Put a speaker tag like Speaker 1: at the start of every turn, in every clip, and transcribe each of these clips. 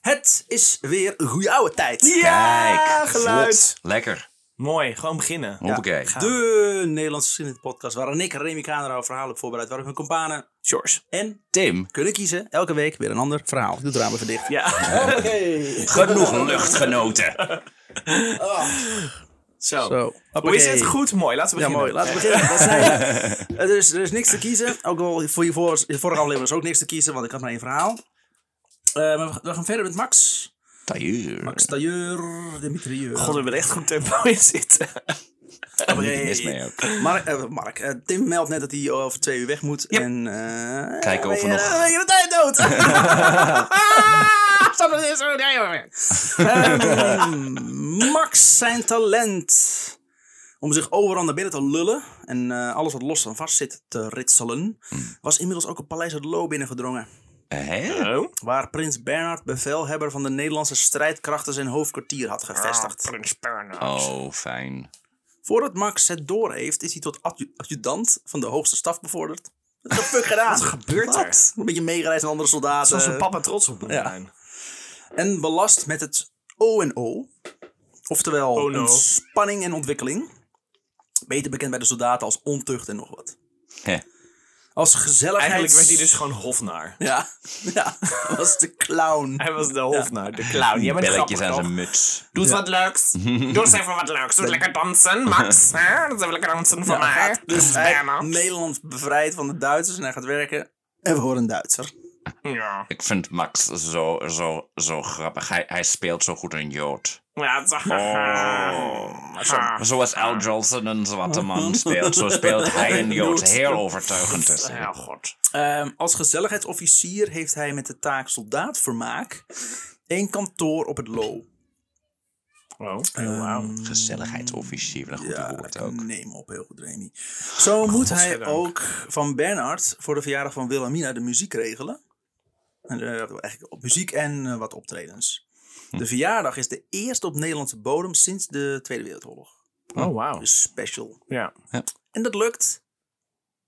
Speaker 1: Het is weer een goeie oude tijd.
Speaker 2: Ja,
Speaker 3: Kijk,
Speaker 2: geluid.
Speaker 3: vlot. Lekker.
Speaker 2: Mooi, gewoon beginnen.
Speaker 3: Hoppakee.
Speaker 2: Ga-
Speaker 1: De Nederlandse geschiedenis podcast waarin ik, Remy Kanerau, verhaal heb voorbereid. Waarop mijn kompanen
Speaker 2: George.
Speaker 1: en
Speaker 3: Tim,
Speaker 1: kunnen kiezen. Elke week weer een ander verhaal. Ik doe het raam even dicht.
Speaker 2: Ja.
Speaker 3: genoeg luchtgenoten.
Speaker 2: Zo.
Speaker 1: Zo.
Speaker 2: Hoe is
Speaker 1: Hoppakee.
Speaker 2: het? Goed, mooi. Laten we
Speaker 1: Ja,
Speaker 2: beginnen.
Speaker 1: mooi. Laten we beginnen. Dat zijn we. er, is, er is niks te kiezen. Ook al voor je voor, in de vorige aflevering was ook niks te kiezen, want ik had maar één verhaal. Eh, maar we, we gaan verder met Max.
Speaker 3: Tailleur.
Speaker 1: Max Tailleur, Dimitrieur.
Speaker 2: God, we hebben er echt goed tempo in zitten.
Speaker 3: Oh, Niet mis mee ook.
Speaker 1: Mark, eh, Mark eh, Tim meldt net dat hij over twee uur weg moet. En, eh,
Speaker 3: Kijken of we
Speaker 1: ben je-
Speaker 3: nog-
Speaker 1: ben je de tijd dood! Stop het eerst. Nee, hoor. Ehm, Max, zijn talent om zich overal naar binnen te lullen en eh, alles wat los en vast zit te ritselen,
Speaker 3: Hmm.
Speaker 1: was inmiddels ook het paleis uit Loo binnengedrongen.
Speaker 3: Hè?
Speaker 2: Oh.
Speaker 1: Waar prins Bernhard, bevelhebber van de Nederlandse strijdkrachten, zijn hoofdkwartier had gevestigd.
Speaker 2: Ah, Prins Bernhard.
Speaker 3: Oh, fijn.
Speaker 1: Voordat Max het door heeft, is hij tot adju- adjudant van de hoogste staf bevorderd. Wat de fuck gedaan? Wat
Speaker 2: gebeurt er?
Speaker 1: Een beetje meegereisd met andere soldaten.
Speaker 2: Zoals een papa trots op moet
Speaker 1: Eh, ja.
Speaker 2: zijn.
Speaker 1: En belast met het O&O. Oftewel
Speaker 2: Oh no.
Speaker 1: een spanning en ontwikkeling. Beter bekend bij de soldaten als ontucht en nog wat.
Speaker 3: Hè.
Speaker 1: Als gezelligheid...
Speaker 2: Eigenlijk werd hij dus gewoon hofnaar.
Speaker 1: Ja, ja was de clown.
Speaker 2: Hij was de hofnaar, de clown. Jij bent
Speaker 3: Belletjes
Speaker 2: grappig,
Speaker 3: aan
Speaker 2: toch?
Speaker 3: zijn muts.
Speaker 2: Doe eens wat leuks. Doe eens even wat leuks. Doe eens lekker dansen, Max. hè? Dat is even lekker dansen voor
Speaker 1: Ja, hij
Speaker 2: mij.
Speaker 1: gaat dus hij
Speaker 2: Bernhard.
Speaker 1: Nederland bevrijd van de Duitsers en hij gaat werken. En we horen een Duitser.
Speaker 2: Ja.
Speaker 3: Ik vind Max zo, zo, zo grappig. Hij, hij speelt zo goed een Jood.
Speaker 2: Ja, het is-
Speaker 3: Oh. Zoals Al Jolson een zwarte man speelt, zo speelt hij een Jood. Heel overtuigend is hij.
Speaker 2: Ja, god.
Speaker 1: Ehm, als gezelligheidsofficier heeft hij met de taak soldaatvermaak één kantoor op het Lo.
Speaker 2: Oh,
Speaker 1: Ehm,
Speaker 2: wauw.
Speaker 3: Gezelligheidsofficier, wat een goed woord ook. Oh,
Speaker 1: neem op, heel goed, Remy. Zo moet hij
Speaker 2: godzijdank.
Speaker 1: ook van Bernard voor de verjaardag van Wilhelmina de muziek regelen. En, eh, eigenlijk op muziek en eh, wat optredens.
Speaker 3: Hm.
Speaker 1: De verjaardag is de eerste op Nederlandse bodem sinds de Tweede Wereldoorlog.
Speaker 2: Oh, wauw.
Speaker 1: Dus special.
Speaker 2: Ja.
Speaker 1: En dat lukt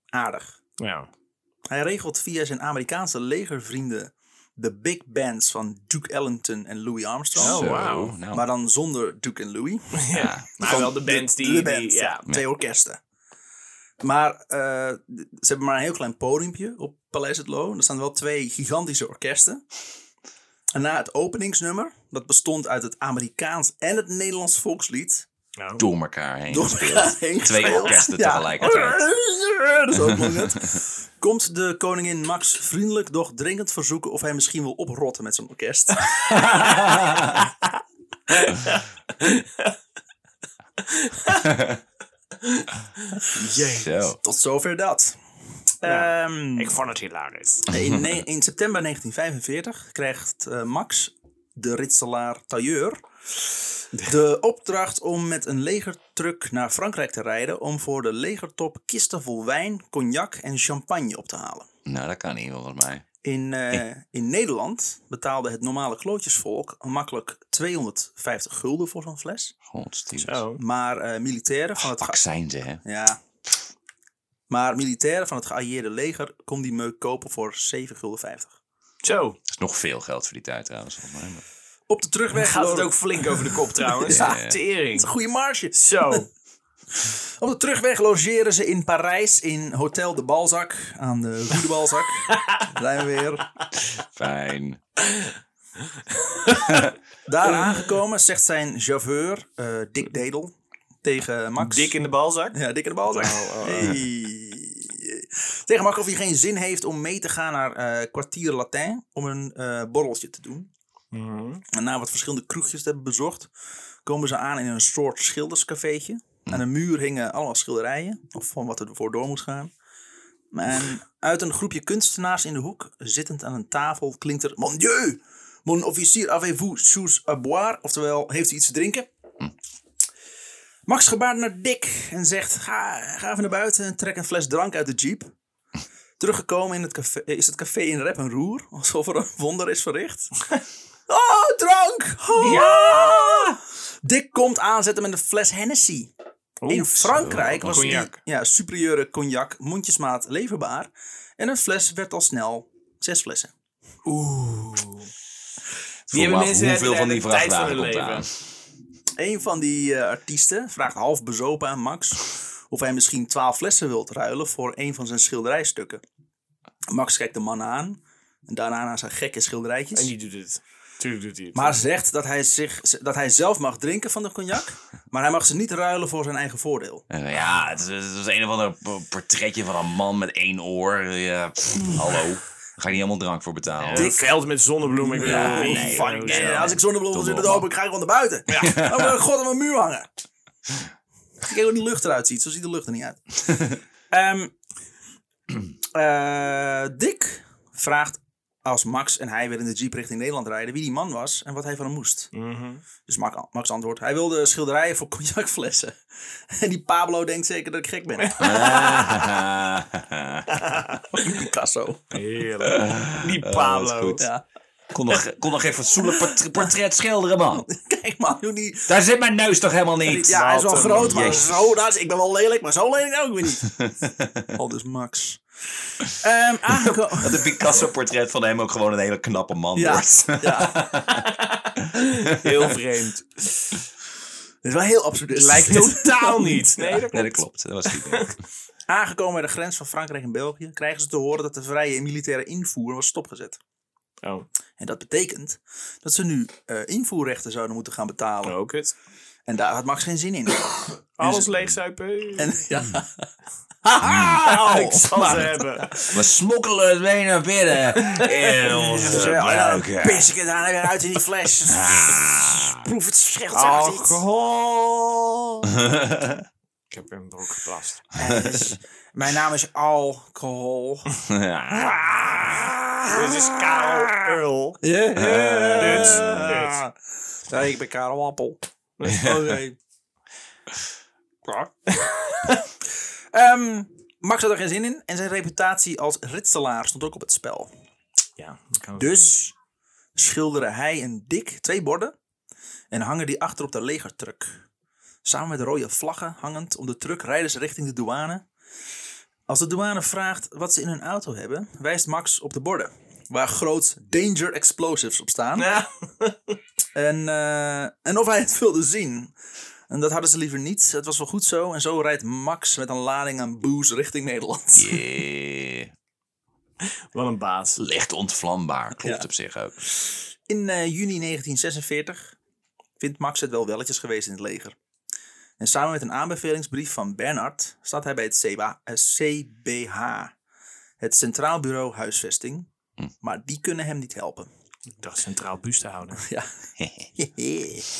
Speaker 1: aardig.
Speaker 2: Ja.
Speaker 1: Hij regelt via zijn Amerikaanse legervrienden de big bands van Duke Ellington en Louis Armstrong.
Speaker 2: Oh,
Speaker 3: Zo,
Speaker 2: wauw.
Speaker 3: nou.
Speaker 1: Maar dan zonder Duke en Louis.
Speaker 2: Ja, maar
Speaker 1: Van
Speaker 2: wel de bands die...
Speaker 1: de
Speaker 2: die-
Speaker 1: band, ja.
Speaker 2: ja.
Speaker 1: Twee orkesten. Maar eh, d- ze hebben maar een heel klein podiumpje op Paleis het Loo. Er staan wel twee gigantische orkesten. En na het openingsnummer, dat bestond uit het Amerikaans en het Nederlands volkslied.
Speaker 2: Nou.
Speaker 3: Door elkaar heen
Speaker 1: Door elkaar
Speaker 3: gespeeld.
Speaker 1: heen
Speaker 3: Twee
Speaker 1: gespeeld.
Speaker 3: orkesten
Speaker 1: Ja.
Speaker 3: tegelijkertijd.
Speaker 1: Dat is ook mooi net. Komt de koningin Max vriendelijk, doch dringend verzoeken of hij misschien wil oprotten met zijn orkest.
Speaker 3: Oh. Zo.
Speaker 1: Tot zover dat.
Speaker 2: Ja.
Speaker 1: Ehm,
Speaker 2: Ik vond het hilarisch.
Speaker 1: in, ne- in september 1945 krijgt eh, Max, de ritselaar tailleur, de opdracht om met een legertruck naar Frankrijk te rijden om voor de legertop kisten vol wijn, cognac en champagne op te halen.
Speaker 3: Nou, dat kan niet volgens mij.
Speaker 1: In, eh, in Nederland betaalde het normale klootjesvolk makkelijk 250 gulden voor zo'n fles.
Speaker 3: Godstiers.
Speaker 2: Oh.
Speaker 1: Maar eh, militairen van het... ge-
Speaker 3: Pak zijn ze, hè?
Speaker 1: Ja. Maar militairen van het geallieerde leger kon die meuk kopen voor 7,50 gulden.
Speaker 2: Zo.
Speaker 3: is nog veel geld voor die tijd trouwens. volgens mij.
Speaker 1: Op de terugweg
Speaker 2: Gaat het
Speaker 1: lopen-
Speaker 2: ook flink over de kop trouwens.
Speaker 3: Ja.
Speaker 2: ja. Tering.
Speaker 1: Goede marge.
Speaker 2: Zo.
Speaker 1: Op de terugweg logeren ze in Parijs in Hotel de Balzac. Aan de Rue de Balzac. Daar zijn we weer.
Speaker 3: Fijn.
Speaker 1: Daar aangekomen zegt zijn chauffeur, eh, Dick Dedel, tegen Max.
Speaker 2: Dik in de balzak.
Speaker 1: Ja, Dick in de Balzac. Hey. Tegen Max of hij geen zin heeft om mee te gaan naar eh Kwartier Latin om een eh, borreltje te doen. En na wat verschillende kroegjes te hebben bezocht, komen ze aan in een soort schilderscafeetje. Aan de muur hingen allemaal schilderijen, of van wat er voor door moest gaan. En uit een groepje kunstenaars in de hoek, zittend aan een tafel, klinkt er... Mon Dieu! Mon officier avez-vous chose à boire? Oftewel, heeft u iets te drinken? Max gebaart naar Dick en zegt... Ga, ga even naar buiten en trek een fles drank uit de jeep. Teruggekomen in het café, eh, is het café in rep en roer, alsof er een wonder is verricht. Oh, drank! Oh! Dick komt aanzetten met een fles Hennessy. In Frankrijk was die
Speaker 2: Cognac.
Speaker 1: ja, superieure cognac mondjesmaat leverbaar. En een fles werd al snel zes flessen.
Speaker 2: Oeh.
Speaker 3: Die
Speaker 2: hebben mensen
Speaker 3: hoeveel
Speaker 2: hebben
Speaker 3: van
Speaker 2: de
Speaker 3: die
Speaker 2: tijd van
Speaker 3: vrachtwagen
Speaker 2: hun
Speaker 3: komt
Speaker 2: leven.
Speaker 3: aan?
Speaker 1: Een van die eh, artiesten vraagt half bezopen aan Max of hij misschien twaalf flessen wilt ruilen voor een van zijn schilderijstukken. Max kijkt de man aan en daarna naar zijn gekke schilderijtjes.
Speaker 2: En die doet het. Tuurlijk doet hij het.
Speaker 1: Maar zegt dat hij, zich, dat hij zelf mag drinken van de cognac, maar hij mag ze niet ruilen voor zijn eigen voordeel.
Speaker 3: Eh, Ja, het is, het is een of ander p- portretje van een man met één oor. Ja, pff, hallo. Daar ga je niet helemaal drank voor betalen.
Speaker 2: een veld met zonnebloemen. Ik
Speaker 1: Ja,
Speaker 2: bedoel,
Speaker 1: nee,
Speaker 2: fuck
Speaker 1: fuck,
Speaker 2: it.
Speaker 1: nee, als ik zonnebloem wil
Speaker 3: Tot
Speaker 1: zitten
Speaker 3: wel,
Speaker 1: open, ik ga gewoon naar buiten. Ja. Dan wil ik god aan mijn muur hangen. Kijk hoe die lucht eruit ziet. Zo ziet de lucht er niet uit. Ehm, eh, Dick vraagt als Max en hij weer in de jeep richting Nederland rijden... wie die man was en wat hij van hem moest.
Speaker 2: Mhm.
Speaker 1: Dus Max, Max antwoordt... hij wilde schilderijen voor cognacflessen. En die Pablo denkt zeker dat ik gek ben. Picasso.
Speaker 2: Heerlijk. Die
Speaker 3: dat is
Speaker 2: Pablo.
Speaker 3: goed.
Speaker 1: Ja.
Speaker 3: kon, nog, kon nog geen fatsoenlijk portret, portret schilderen, man.
Speaker 1: Kijk man, hoe die...
Speaker 3: Daar zit mijn neus toch helemaal niet?
Speaker 1: Ja, hij is wel
Speaker 2: Wat een-
Speaker 1: groot, maar
Speaker 3: Jezus.
Speaker 1: zo, dat is, ik ben wel lelijk, maar zo lelijk ook weer niet. Al dus Max. Ehm aangekomen.
Speaker 3: Dat een Picasso-portret van hem ook gewoon een hele knappe man
Speaker 1: Ja,
Speaker 3: wordt.
Speaker 1: ja.
Speaker 2: Heel vreemd.
Speaker 1: Dit is wel heel absurd.
Speaker 2: Lijkt totaal niet. Nee, dat
Speaker 3: Nee, dat
Speaker 2: klopt.
Speaker 3: klopt. Dat was niet meer.
Speaker 1: Aangekomen bij de grens van Frankrijk en België krijgen ze te horen dat de vrije militaire invoer was stopgezet.
Speaker 2: Oh,
Speaker 1: En dat betekent dat ze nu eh, invoerrechten zouden moeten gaan betalen.
Speaker 2: nou, ook het.
Speaker 1: En daar had Max geen zin in.
Speaker 2: Alles leegzuipen.
Speaker 1: En, ja.
Speaker 2: Ah, ik
Speaker 1: Oh,
Speaker 2: zal ze hebben.
Speaker 3: We smokkelen het mee naar binnen. In
Speaker 1: Dus,
Speaker 3: onze
Speaker 1: eh, oh, dan
Speaker 3: buiken.
Speaker 1: pis ik het aan en weer uit in die fles. Proef het scheelt zelfs iets.
Speaker 2: Alcohol. ik heb hem er ook geplast.
Speaker 1: Dus, mijn naam is alcohol.
Speaker 3: Ja.
Speaker 1: Ah.
Speaker 2: Dit is Karel Eh, Earl.
Speaker 1: Ja. Nee, ik ben Karel Appel. Oké. Ehm, Max had er geen zin in en zijn reputatie als ritselaar stond ook op het spel.
Speaker 2: Ja, dat kan ook.
Speaker 1: Dus schilderen hij en Dick twee borden en hangen die achter op de legertruck. Samen met rode vlaggen hangend om de truck rijden ze richting de douane. Als de douane vraagt wat ze in hun auto hebben, wijst Max op de borden. Waar groot Danger Explosives op staan.
Speaker 2: Ja.
Speaker 1: En, eh, en of hij het wilde zien. En dat hadden ze liever niet. Het was wel goed zo. En zo rijdt Max met een lading aan booze richting Nederland.
Speaker 3: Yeah.
Speaker 2: Wat een baas.
Speaker 3: Licht ontvlambaar, klopt
Speaker 1: Ja.
Speaker 3: op zich ook.
Speaker 1: In eh, juni 1946 vindt Max het wel welletjes geweest in het leger. En samen met een aanbevelingsbrief van Bernard staat hij bij het CBA eh, CBH, het Centraal Bureau Huisvesting. Maar die kunnen hem niet helpen.
Speaker 2: Ik dacht centraal buus te houden.
Speaker 1: Ja. dat, is-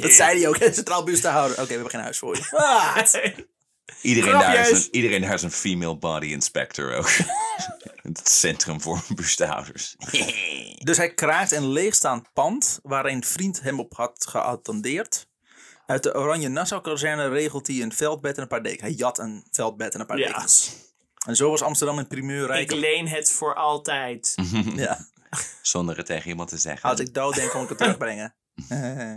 Speaker 1: dat zei hij ook, het Centraal Bureau te houden. Oké, we hebben geen huis voor je.
Speaker 3: Iedereen daar, is
Speaker 2: Grapjes.
Speaker 3: een, iedereen daar is een female body inspector ook. het centrum voor buurthouders.
Speaker 1: Dus hij kraakt een leegstaand pand waar een vriend hem op had geattendeerd. Uit de Oranje Nassau-kazerne regelt hij een veldbed en een paar dekens. Hij jat een veldbed en een paar
Speaker 2: Ja.
Speaker 1: dekens. En zo was Amsterdam een primeur
Speaker 2: Ik
Speaker 1: rijk.
Speaker 2: leen het voor altijd.
Speaker 1: Ja.
Speaker 3: Zonder het tegen iemand te zeggen.
Speaker 1: Als ik dood denk, kon ik het terugbrengen.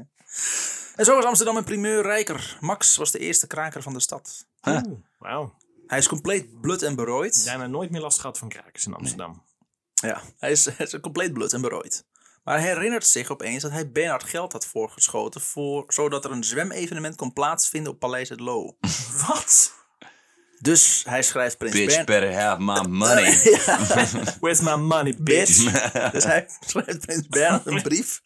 Speaker 1: en zo was Amsterdam een primeur rijker. Max was de eerste kraker van de stad.
Speaker 2: Oeh, Wauw.
Speaker 1: Hij is compleet blut en berooid.
Speaker 2: Daarna nooit meer last gehad van krakers in Amsterdam.
Speaker 1: Ja, hij is, hij is compleet blut en berooid. Maar hij herinnert zich opeens dat hij Bernard geld had voorgeschoten... Voor, zodat er een zwemevenement kon plaatsvinden op Paleis het Loo.
Speaker 2: Wat?
Speaker 1: Dus hij schrijft Prins
Speaker 3: Bitch,
Speaker 1: Bernard...
Speaker 3: better have my money.
Speaker 2: Where's my money, bitch?
Speaker 1: Bitch. dus hij schrijft Prins Bernard een brief.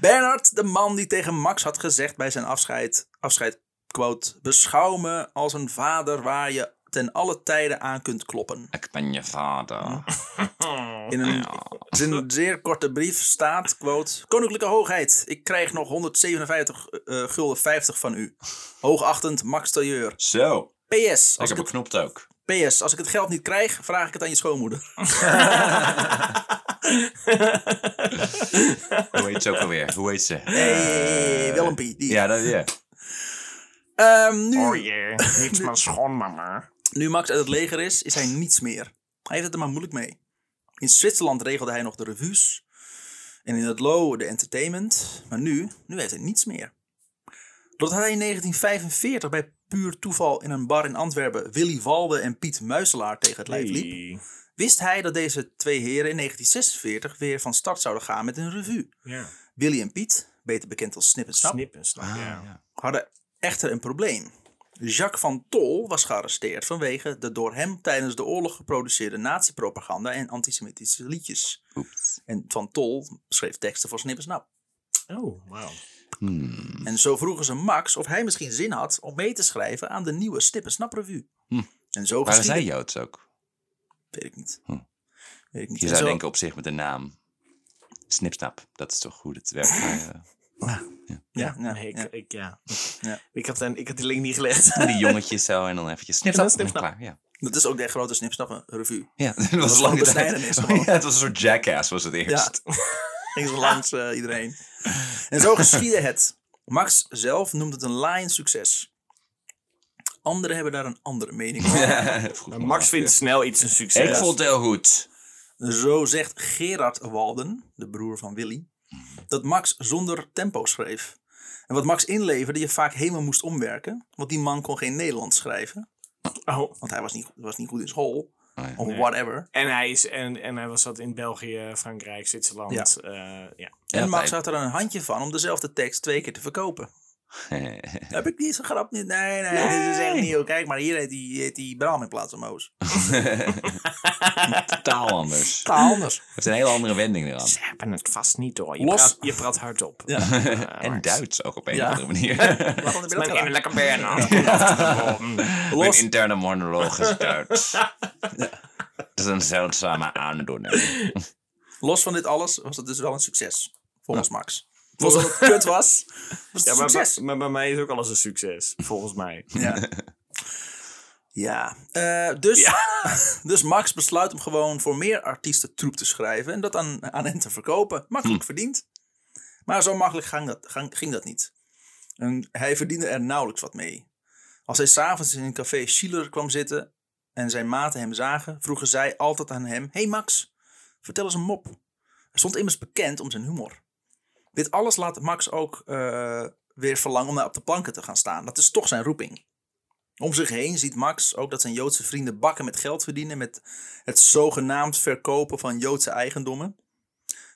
Speaker 1: Bernard, de man die tegen Max had gezegd bij zijn afscheid... afscheid quote, beschouw me als een vader waar je ten alle tijden aan kunt kloppen.
Speaker 3: ik ben je vader.
Speaker 1: In een, in een zeer korte brief staat, quote... Koninklijke Hoogheid, ik krijg nog 157 eh, gulden 50 van u. Hoogachtend Max Tailleur.
Speaker 3: Zo,
Speaker 1: PS
Speaker 3: ik
Speaker 1: als ik,
Speaker 3: heb
Speaker 1: het,
Speaker 3: beknopt ook.
Speaker 1: PS, als ik het geld niet krijg, vraag ik het aan je schoonmoeder.
Speaker 3: Hoe heet ze ook alweer? Hoe heet ze?
Speaker 1: Hey, Willempie. Die.
Speaker 3: Eh, Ja, dat, ja.
Speaker 1: Ehm, nu,
Speaker 2: Oh jee, niks maar schoon, mama.
Speaker 1: nu Max uit het leger is, is hij niets meer. Hij heeft het er maar moeilijk mee. In Zwitserland regelde hij nog de revues. En in het Low de entertainment. Maar nu, nu heeft hij niets meer. Doordat hij in 1945 bij puur toeval in een bar in Antwerpen Willy Walde en Piet Muiselaar tegen het lijf liep, wist hij dat deze twee heren in 1946 weer van start zouden gaan met een revue.
Speaker 4: Ja.
Speaker 1: Billy en Piet, beter bekend als Snip en Snap,
Speaker 4: Snip en snap,
Speaker 3: Ah.
Speaker 1: Ah.
Speaker 4: ja.
Speaker 1: hadden echter een probleem. Jacques van Tol was gearresteerd vanwege de door hem tijdens de oorlog geproduceerde nazi-propaganda en antisemitische liedjes. En van Tol schreef teksten voor Snip en Snap.
Speaker 4: Oh, wauw.
Speaker 3: Hmm.
Speaker 1: En zo vroegen ze Max of hij misschien zin had om mee te schrijven aan de nieuwe Snip en Snap revue.
Speaker 3: Hm.
Speaker 1: En zo
Speaker 3: Waren zij
Speaker 1: geschiedde...
Speaker 3: Joods ook?
Speaker 1: Weet ik niet.
Speaker 3: Hm.
Speaker 1: Weet ik niet.
Speaker 3: Je
Speaker 1: En
Speaker 3: zou
Speaker 1: zo-
Speaker 3: denken op zich met de naam. Snipsnap, dat is toch hoe het werkt. maar, eh,
Speaker 1: Ja, ja,
Speaker 4: Nee, ik,
Speaker 1: ja.
Speaker 4: Ik, ja.
Speaker 1: Ja.
Speaker 4: Ik, had een, ik had die link niet gelegd.
Speaker 3: die jongetjes zo en dan eventjes snipsnap.
Speaker 4: En dan
Speaker 3: en klaar, ja.
Speaker 1: Dat is ook de grote Snip en Snap revue.
Speaker 3: ja, dat was
Speaker 1: gewoon
Speaker 3: lang tijd.
Speaker 1: besnijdenis gewoon.
Speaker 3: Ja, het was een soort jackass was het eerst.
Speaker 1: Ging ze langs eh, iedereen. En zo geschiedde het. Max zelf noemt het een laaiend succes. Anderen hebben daar een andere mening over.
Speaker 3: Goed,
Speaker 4: Maar
Speaker 3: man.
Speaker 4: Max vindt snel iets een succes.
Speaker 3: Ik vond het heel goed.
Speaker 1: Zo zegt Gerard Walden, de broer van Willy, dat Max zonder tempo schreef. En wat Max inleverde, je vaak helemaal moest omwerken, want die man kon geen Nederlands schrijven,
Speaker 4: Oh.
Speaker 1: want hij was niet, was niet goed in school,
Speaker 3: Oh ja.
Speaker 1: of whatever.
Speaker 4: En hij, is, en, en hij was dat in België, Frankrijk, Zwitserland. Ja. ja.
Speaker 1: En Max
Speaker 3: hij-
Speaker 1: had er een handje van om dezelfde tekst twee keer te verkopen. Heb ik niet zo'n grap niet? Nee, nee, dit is echt niet. joh. Kijk, maar hier heet die, heet die Bram in plaats van Moos.
Speaker 3: Totaal anders. Het
Speaker 1: Taal anders.
Speaker 3: is een hele andere wending eraan.
Speaker 4: Ze hebben het vast niet door. Je,
Speaker 1: Los.
Speaker 4: praat, je praat hardop.
Speaker 1: Ja.
Speaker 3: En Duits ook op een
Speaker 1: Ja.
Speaker 3: of andere manier.
Speaker 1: Waarom heb je
Speaker 2: Mijn
Speaker 1: dat gedaan?
Speaker 2: innerlijke bijnaam.
Speaker 3: Mijn interne monoloog is Duits. Dat is een zeldzame aandoening.
Speaker 1: Los van dit alles was het dus wel een succes, volgens Max. Volgens dat het kut was, was het
Speaker 4: Ja,
Speaker 1: een
Speaker 4: maar,
Speaker 1: succes.
Speaker 4: bij- maar bij mij is ook alles een succes, volgens mij.
Speaker 1: Ja. Ja, eh, dus, dus Max besluit om gewoon voor meer artiesten troep te schrijven en dat aan, aan hen te verkopen. Makkelijk verdiend. Maar zo makkelijk ging dat, ging, ging dat niet. En hij verdiende er nauwelijks wat mee. Als hij s'avonds in een café Schiller kwam zitten en zijn maten hem zagen, vroegen zij altijd aan hem: Hey Max, vertel eens een mop. Hij stond immers bekend om zijn humor. Dit alles laat Max ook eh, weer verlangen om daar op de planken te gaan staan. Dat is toch zijn roeping. Om zich heen ziet Max ook dat zijn Joodse vrienden bakken met geld verdienen met het zogenaamd verkopen van Joodse eigendommen.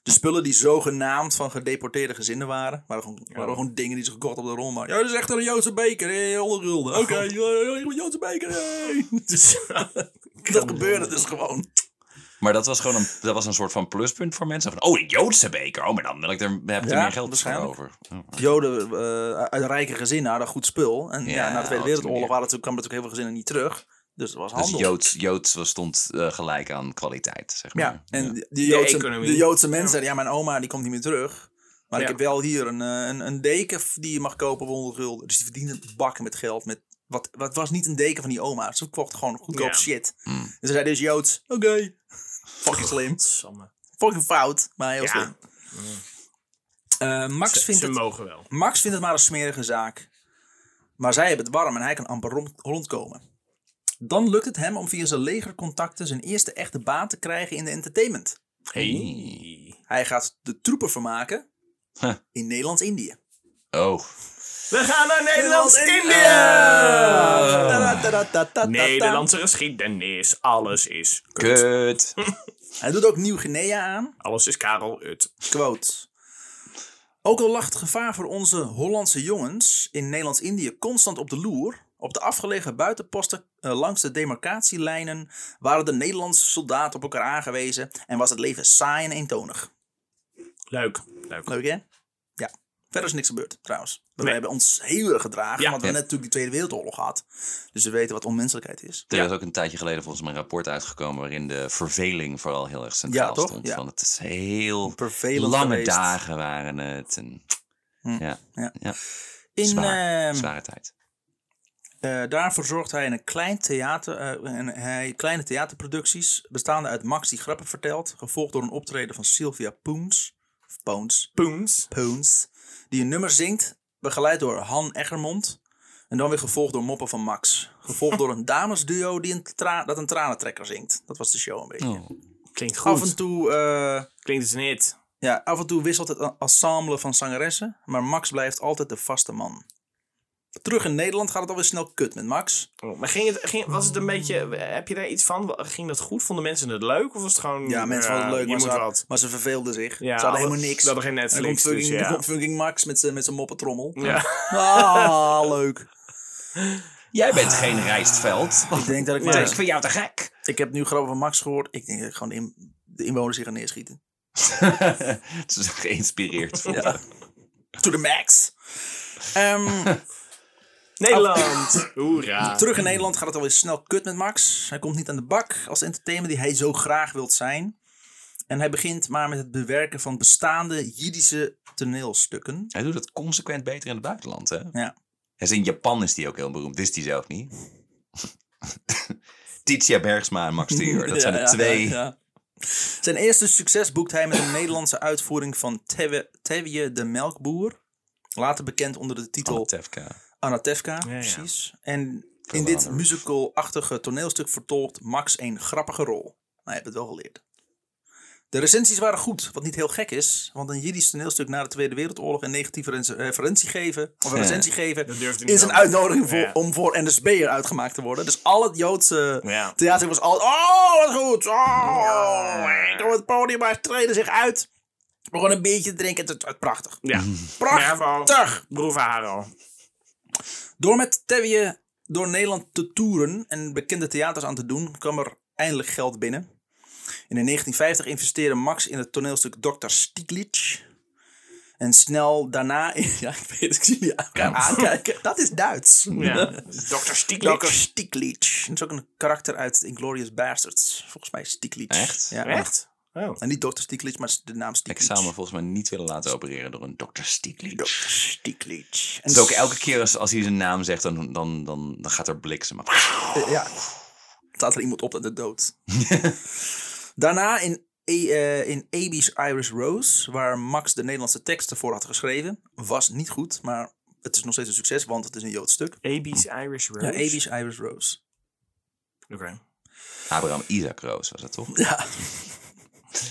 Speaker 1: De spullen die zogenaamd van gedeporteerde gezinnen waren, waren gewoon, waren gewoon dingen die ze gekocht op de rol maken. Ja, dat is echt een Joodse beker, hé, 100
Speaker 3: Oh.
Speaker 1: gulden. Oké, ja, ja, ja, Joodse beker, hé. Dus, dat gebeurde dus gewoon.
Speaker 3: Maar dat was gewoon een, dat was een soort van pluspunt voor mensen. Van, oh, een Joodse beker. Oh, maar dan wil ik er, heb ik er
Speaker 1: Ja,
Speaker 3: meer geld voor
Speaker 1: waarschijnlijk.
Speaker 3: over. Oh.
Speaker 1: Joden eh, uit rijke gezinnen hadden goed spul. En ja, na
Speaker 3: Ja,
Speaker 1: de
Speaker 3: op die
Speaker 1: Tweede Wereldoorlog
Speaker 3: manier.
Speaker 1: waren natuurlijk, kwamen natuurlijk heel veel gezinnen niet terug. Dus het was
Speaker 3: Dus
Speaker 1: handel.
Speaker 3: Joods, Joods was- stond eh, gelijk aan kwaliteit, zeg maar.
Speaker 1: Ja, en die- die Joodse,
Speaker 4: economie.
Speaker 1: de Joodse mensen zeiden, ja, mijn oma die komt niet meer terug. Maar ik
Speaker 4: Ja.
Speaker 1: heb wel hier een, eh, een, een deken f- die je mag kopen voor 100 gulden. Dus die verdienen bakken met geld. Met, wat, wat was niet een deken van die oma. Ze kocht gewoon goedkoop
Speaker 4: Ja.
Speaker 1: shit.
Speaker 3: Mm.
Speaker 1: En ze zei, dit is Joods. Oké. Fucking slim.
Speaker 4: Samme.
Speaker 1: Fucking fout, maar heel
Speaker 4: Ja.
Speaker 1: slim. Eh, Max
Speaker 4: Ze,
Speaker 1: vindt
Speaker 4: ze
Speaker 1: het...
Speaker 4: mogen wel.
Speaker 1: Max vindt het maar een smerige zaak. Maar zij hebben het warm en hij kan amper rond- rondkomen. Dan lukt het hem om via zijn legercontacten zijn eerste echte baan te krijgen in de entertainment.
Speaker 3: Hey.
Speaker 1: Hij gaat de troepen vermaken
Speaker 3: Huh.
Speaker 1: in Nederlands-Indië.
Speaker 3: Oh.
Speaker 4: We gaan naar Nederlands-Indië! Nederlandse geschiedenis, alles is...
Speaker 3: Kut.
Speaker 1: Hij doet ook Nieuw-Guinea aan.
Speaker 4: Alles is Karel Ut.
Speaker 1: Quote. Ook al lag het gevaar voor onze Hollandse jongens in Nederlands-Indië constant op de loer, op de afgelegen buitenposten eh, langs de demarcatielijnen waren de Nederlandse soldaten op elkaar aangewezen en was het leven saai en eentonig.
Speaker 4: Leuk, leuk.
Speaker 1: Leuk hè? Ja. Verder is niks gebeurd trouwens. We
Speaker 4: Nee.
Speaker 1: hebben ons heel erg gedragen,
Speaker 4: Ja.
Speaker 1: want we hebben net natuurlijk die Tweede Wereldoorlog gehad. Dus we weten wat onmenselijkheid is.
Speaker 3: Er
Speaker 4: Ja.
Speaker 3: is ook een tijdje geleden volgens mij een rapport uitgekomen waarin de verveling vooral heel erg centraal
Speaker 1: Ja, toch?
Speaker 3: stond.
Speaker 1: Ja.
Speaker 3: Want het is heel
Speaker 1: Vervelend
Speaker 3: lange
Speaker 1: geweest.
Speaker 3: dagen waren het. En,
Speaker 1: Hm.
Speaker 3: ja,
Speaker 1: Ja.
Speaker 3: ja.
Speaker 1: In,
Speaker 3: Zwaar.
Speaker 1: ehm,
Speaker 3: zware tijd.
Speaker 1: Eh, daarvoor zorgt hij in een klein theater, eh, en hij, kleine theaterproducties, bestaande uit Max die grappen vertelt, gevolgd door een optreden van Sylvia Poons, of Poons,
Speaker 4: Poens.
Speaker 1: Poons, die een nummer zingt, begeleid door Han Eggermond, en dan weer gevolgd door moppen van Max. Gevolgd door een damesduo die een tra- dat een tranentrekker zingt. Dat was de show een beetje.
Speaker 4: Oh, Klinkt
Speaker 1: Af
Speaker 4: goed.
Speaker 1: en toe... eh,
Speaker 4: Klinkt dus niet.
Speaker 1: ja, af en toe wisselt het ensemble van zangeressen, maar Max blijft altijd de vaste man. Terug in Nederland gaat het alweer snel kut met Max.
Speaker 4: Oh, Maar ging het, ging, was het een beetje, heb je daar iets van? Ging dat goed? Vonden mensen het leuk? Of was het gewoon... eh,
Speaker 1: Ja, mensen vonden het leuk,
Speaker 4: je
Speaker 1: maar
Speaker 4: moet
Speaker 1: ze, hadden-
Speaker 4: wat.
Speaker 1: maar ze verveelden zich.
Speaker 4: Ja,
Speaker 1: ze hadden helemaal niks.
Speaker 4: We hadden geen
Speaker 1: Er komt
Speaker 4: Netflix,
Speaker 1: fucking,
Speaker 4: dus
Speaker 1: er
Speaker 4: ja.
Speaker 1: komt fucking Max met zijn met zijn moppetrommel.
Speaker 4: Ja.
Speaker 1: Ah, leuk.
Speaker 3: Jij bent geen rijstveld.
Speaker 1: Ik denk dat ik
Speaker 3: Maar
Speaker 1: maar...
Speaker 3: ik vind jou te gek.
Speaker 1: Ik heb nu grappen van Max gehoord. Ik denk dat ik gewoon de, in- de inwoners hier gaan neerschieten.
Speaker 3: Het is geïnspireerd. van-
Speaker 1: Ja. To the max. Ehm,
Speaker 4: Nederland! Hoera!
Speaker 1: terug in Nederland gaat het alweer snel kut met Max. Hij komt niet aan de bak als entertainer die hij zo graag wilt zijn. En hij begint maar met het bewerken van bestaande Jiddische toneelstukken.
Speaker 3: Hij doet het consequent beter in het buitenland, hè?
Speaker 1: Ja.
Speaker 3: Dus in Japan is die ook heel beroemd. Is die zelf niet? Titia Bergsma en Max de Jeur. Dat zijn
Speaker 1: Ja,
Speaker 3: de
Speaker 1: ja,
Speaker 3: twee.
Speaker 1: ja, ja. Zijn eerste succes boekt hij met een Nederlandse uitvoering van Tewe- Tevje de Melkboer. Later bekend onder de titel
Speaker 3: Tefka.
Speaker 1: Anatevka,
Speaker 4: ja.
Speaker 1: precies. En in
Speaker 3: Veel
Speaker 1: dit
Speaker 3: later.
Speaker 1: musical-achtige toneelstuk vertolkt Max een grappige rol. Nou, je hebt het wel geleerd. De recensies waren goed, wat niet heel gek is, want een Jiddisch toneelstuk na de Tweede Wereldoorlog een negatieve rens- referentie geven, of een
Speaker 3: Ja.
Speaker 1: recensie geven,
Speaker 4: Dat durfde
Speaker 1: is
Speaker 4: niet
Speaker 1: een
Speaker 4: ook.
Speaker 1: uitnodiging voor,
Speaker 4: Ja.
Speaker 1: om voor NSB'er uitgemaakt te worden. Dus al het Joodse
Speaker 4: Ja.
Speaker 1: theater was altijd, oh wat goed, oh, ik op het podium, maar treden zich uit. We gewoon een biertje drinken, het was prachtig.
Speaker 4: Ja.
Speaker 1: Prachtig!
Speaker 4: Broeva Haro.
Speaker 1: Door met Tevje door Nederland te toeren en bekende theaters aan te doen, kwam er eindelijk geld binnen. En in 1950 investeerde Max in het toneelstuk Dr. Stieglitz. En snel daarna, in- ja, ik weet het, ik zie jullie elkaar aankijken. Dat is Duits.
Speaker 4: Ja. Dr.
Speaker 1: Dr.
Speaker 4: Stieglitz.
Speaker 1: Stieglitz. Dat is ook een karakter uit Inglorious Bastards. Volgens mij Stieglitz.
Speaker 3: Echt?
Speaker 1: Ja.
Speaker 4: Echt? Oh.
Speaker 1: En niet Dr. Stieglitz, maar de naam
Speaker 3: Ik
Speaker 1: Stieglitz.
Speaker 3: zou me volgens mij niet willen laten opereren door een dokter
Speaker 1: Dr.
Speaker 3: Stieglitz.
Speaker 1: Stieglitz. En
Speaker 3: Het is ook elke keer als, als hij zijn naam zegt, dan, dan, dan, dan gaat er bliksem af.
Speaker 1: Eh, ja. Staat er iemand op dat de dood. Daarna in, A- eh, in Abby's Iris Rose, waar Max de Nederlandse teksten voor had geschreven, was niet goed, maar het is nog steeds een succes, want het is een Joods stuk.
Speaker 4: Aby's Irish Rose.
Speaker 1: Ja, Abby's Iris Rose.
Speaker 4: Oké.
Speaker 3: Abraham Isaac Roos was dat toch?
Speaker 1: Ja.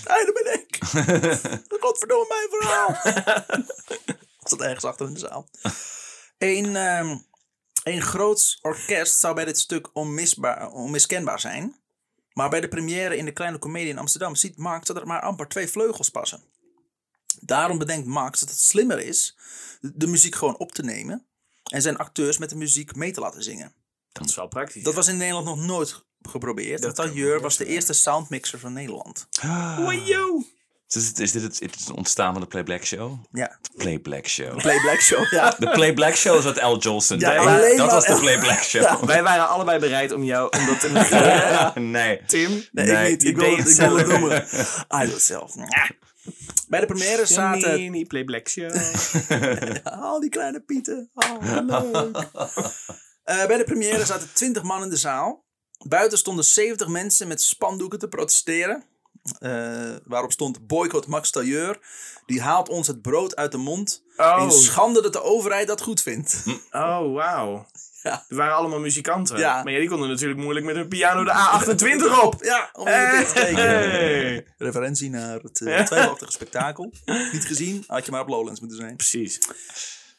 Speaker 1: Hey, dat ben ik. Godverdomme mijn verhaal. Zat ergens achter in de zaal. Een, ehm een groot orkest zou bij dit stuk onmisbaar, onmiskenbaar zijn. Maar bij de première in de Kleine Comedie in Amsterdam ziet Max dat er maar amper twee vleugels passen. Daarom bedenkt Max dat het slimmer is de de muziek gewoon op te nemen en zijn acteurs met de muziek mee te laten zingen.
Speaker 4: Dat is wel praktisch.
Speaker 1: Dat was in Nederland nog nooit geprobeerd. Dat Tailleur was de eerste soundmixer van Nederland.
Speaker 4: Wajo!
Speaker 3: Dus het is dit het, het is het ontstaan van de Playback Show?
Speaker 1: Ja.
Speaker 3: De Playback Show.
Speaker 1: Play Black Show, ja.
Speaker 3: De Playback Show is wat Al Jolson
Speaker 1: Ja,
Speaker 3: deed.
Speaker 1: alleen
Speaker 3: Dat
Speaker 1: maar-
Speaker 3: was de Playback Show.
Speaker 4: Wij waren allebei bereid om jou om dat te negeren.
Speaker 3: Nee.
Speaker 4: Tim.
Speaker 1: Nee,
Speaker 3: Nee,
Speaker 1: ik niet.
Speaker 4: je
Speaker 1: Ik wil
Speaker 4: deed
Speaker 1: het, ik
Speaker 4: het
Speaker 1: wil het
Speaker 4: zelf.
Speaker 1: noemen. I do it zelf. Bij de première zaten
Speaker 4: Mini Play Black Show.
Speaker 1: al die kleine pieten. Oh, wat leuk. Eh, bij de première zaten 20 man in de zaal. Buiten stonden 70 mensen met spandoeken te protesteren. Eh, waarop stond boycott Max Tailleur. Die haalt ons het brood uit de mond.
Speaker 4: Oh.
Speaker 1: In schande dat de overheid dat goed vindt.
Speaker 4: Oh, wauw.
Speaker 1: Ja.
Speaker 4: Er waren allemaal muzikanten.
Speaker 1: Ja.
Speaker 4: Maar ja, die konden natuurlijk moeilijk met hun piano de A28 op.
Speaker 1: Ja, om even
Speaker 4: Eh. Hey.
Speaker 1: dit te tekenen. Referentie naar het eh, twijfelachtige spektakel. Niet gezien, had je maar op Lowlands moeten zijn.
Speaker 4: Precies.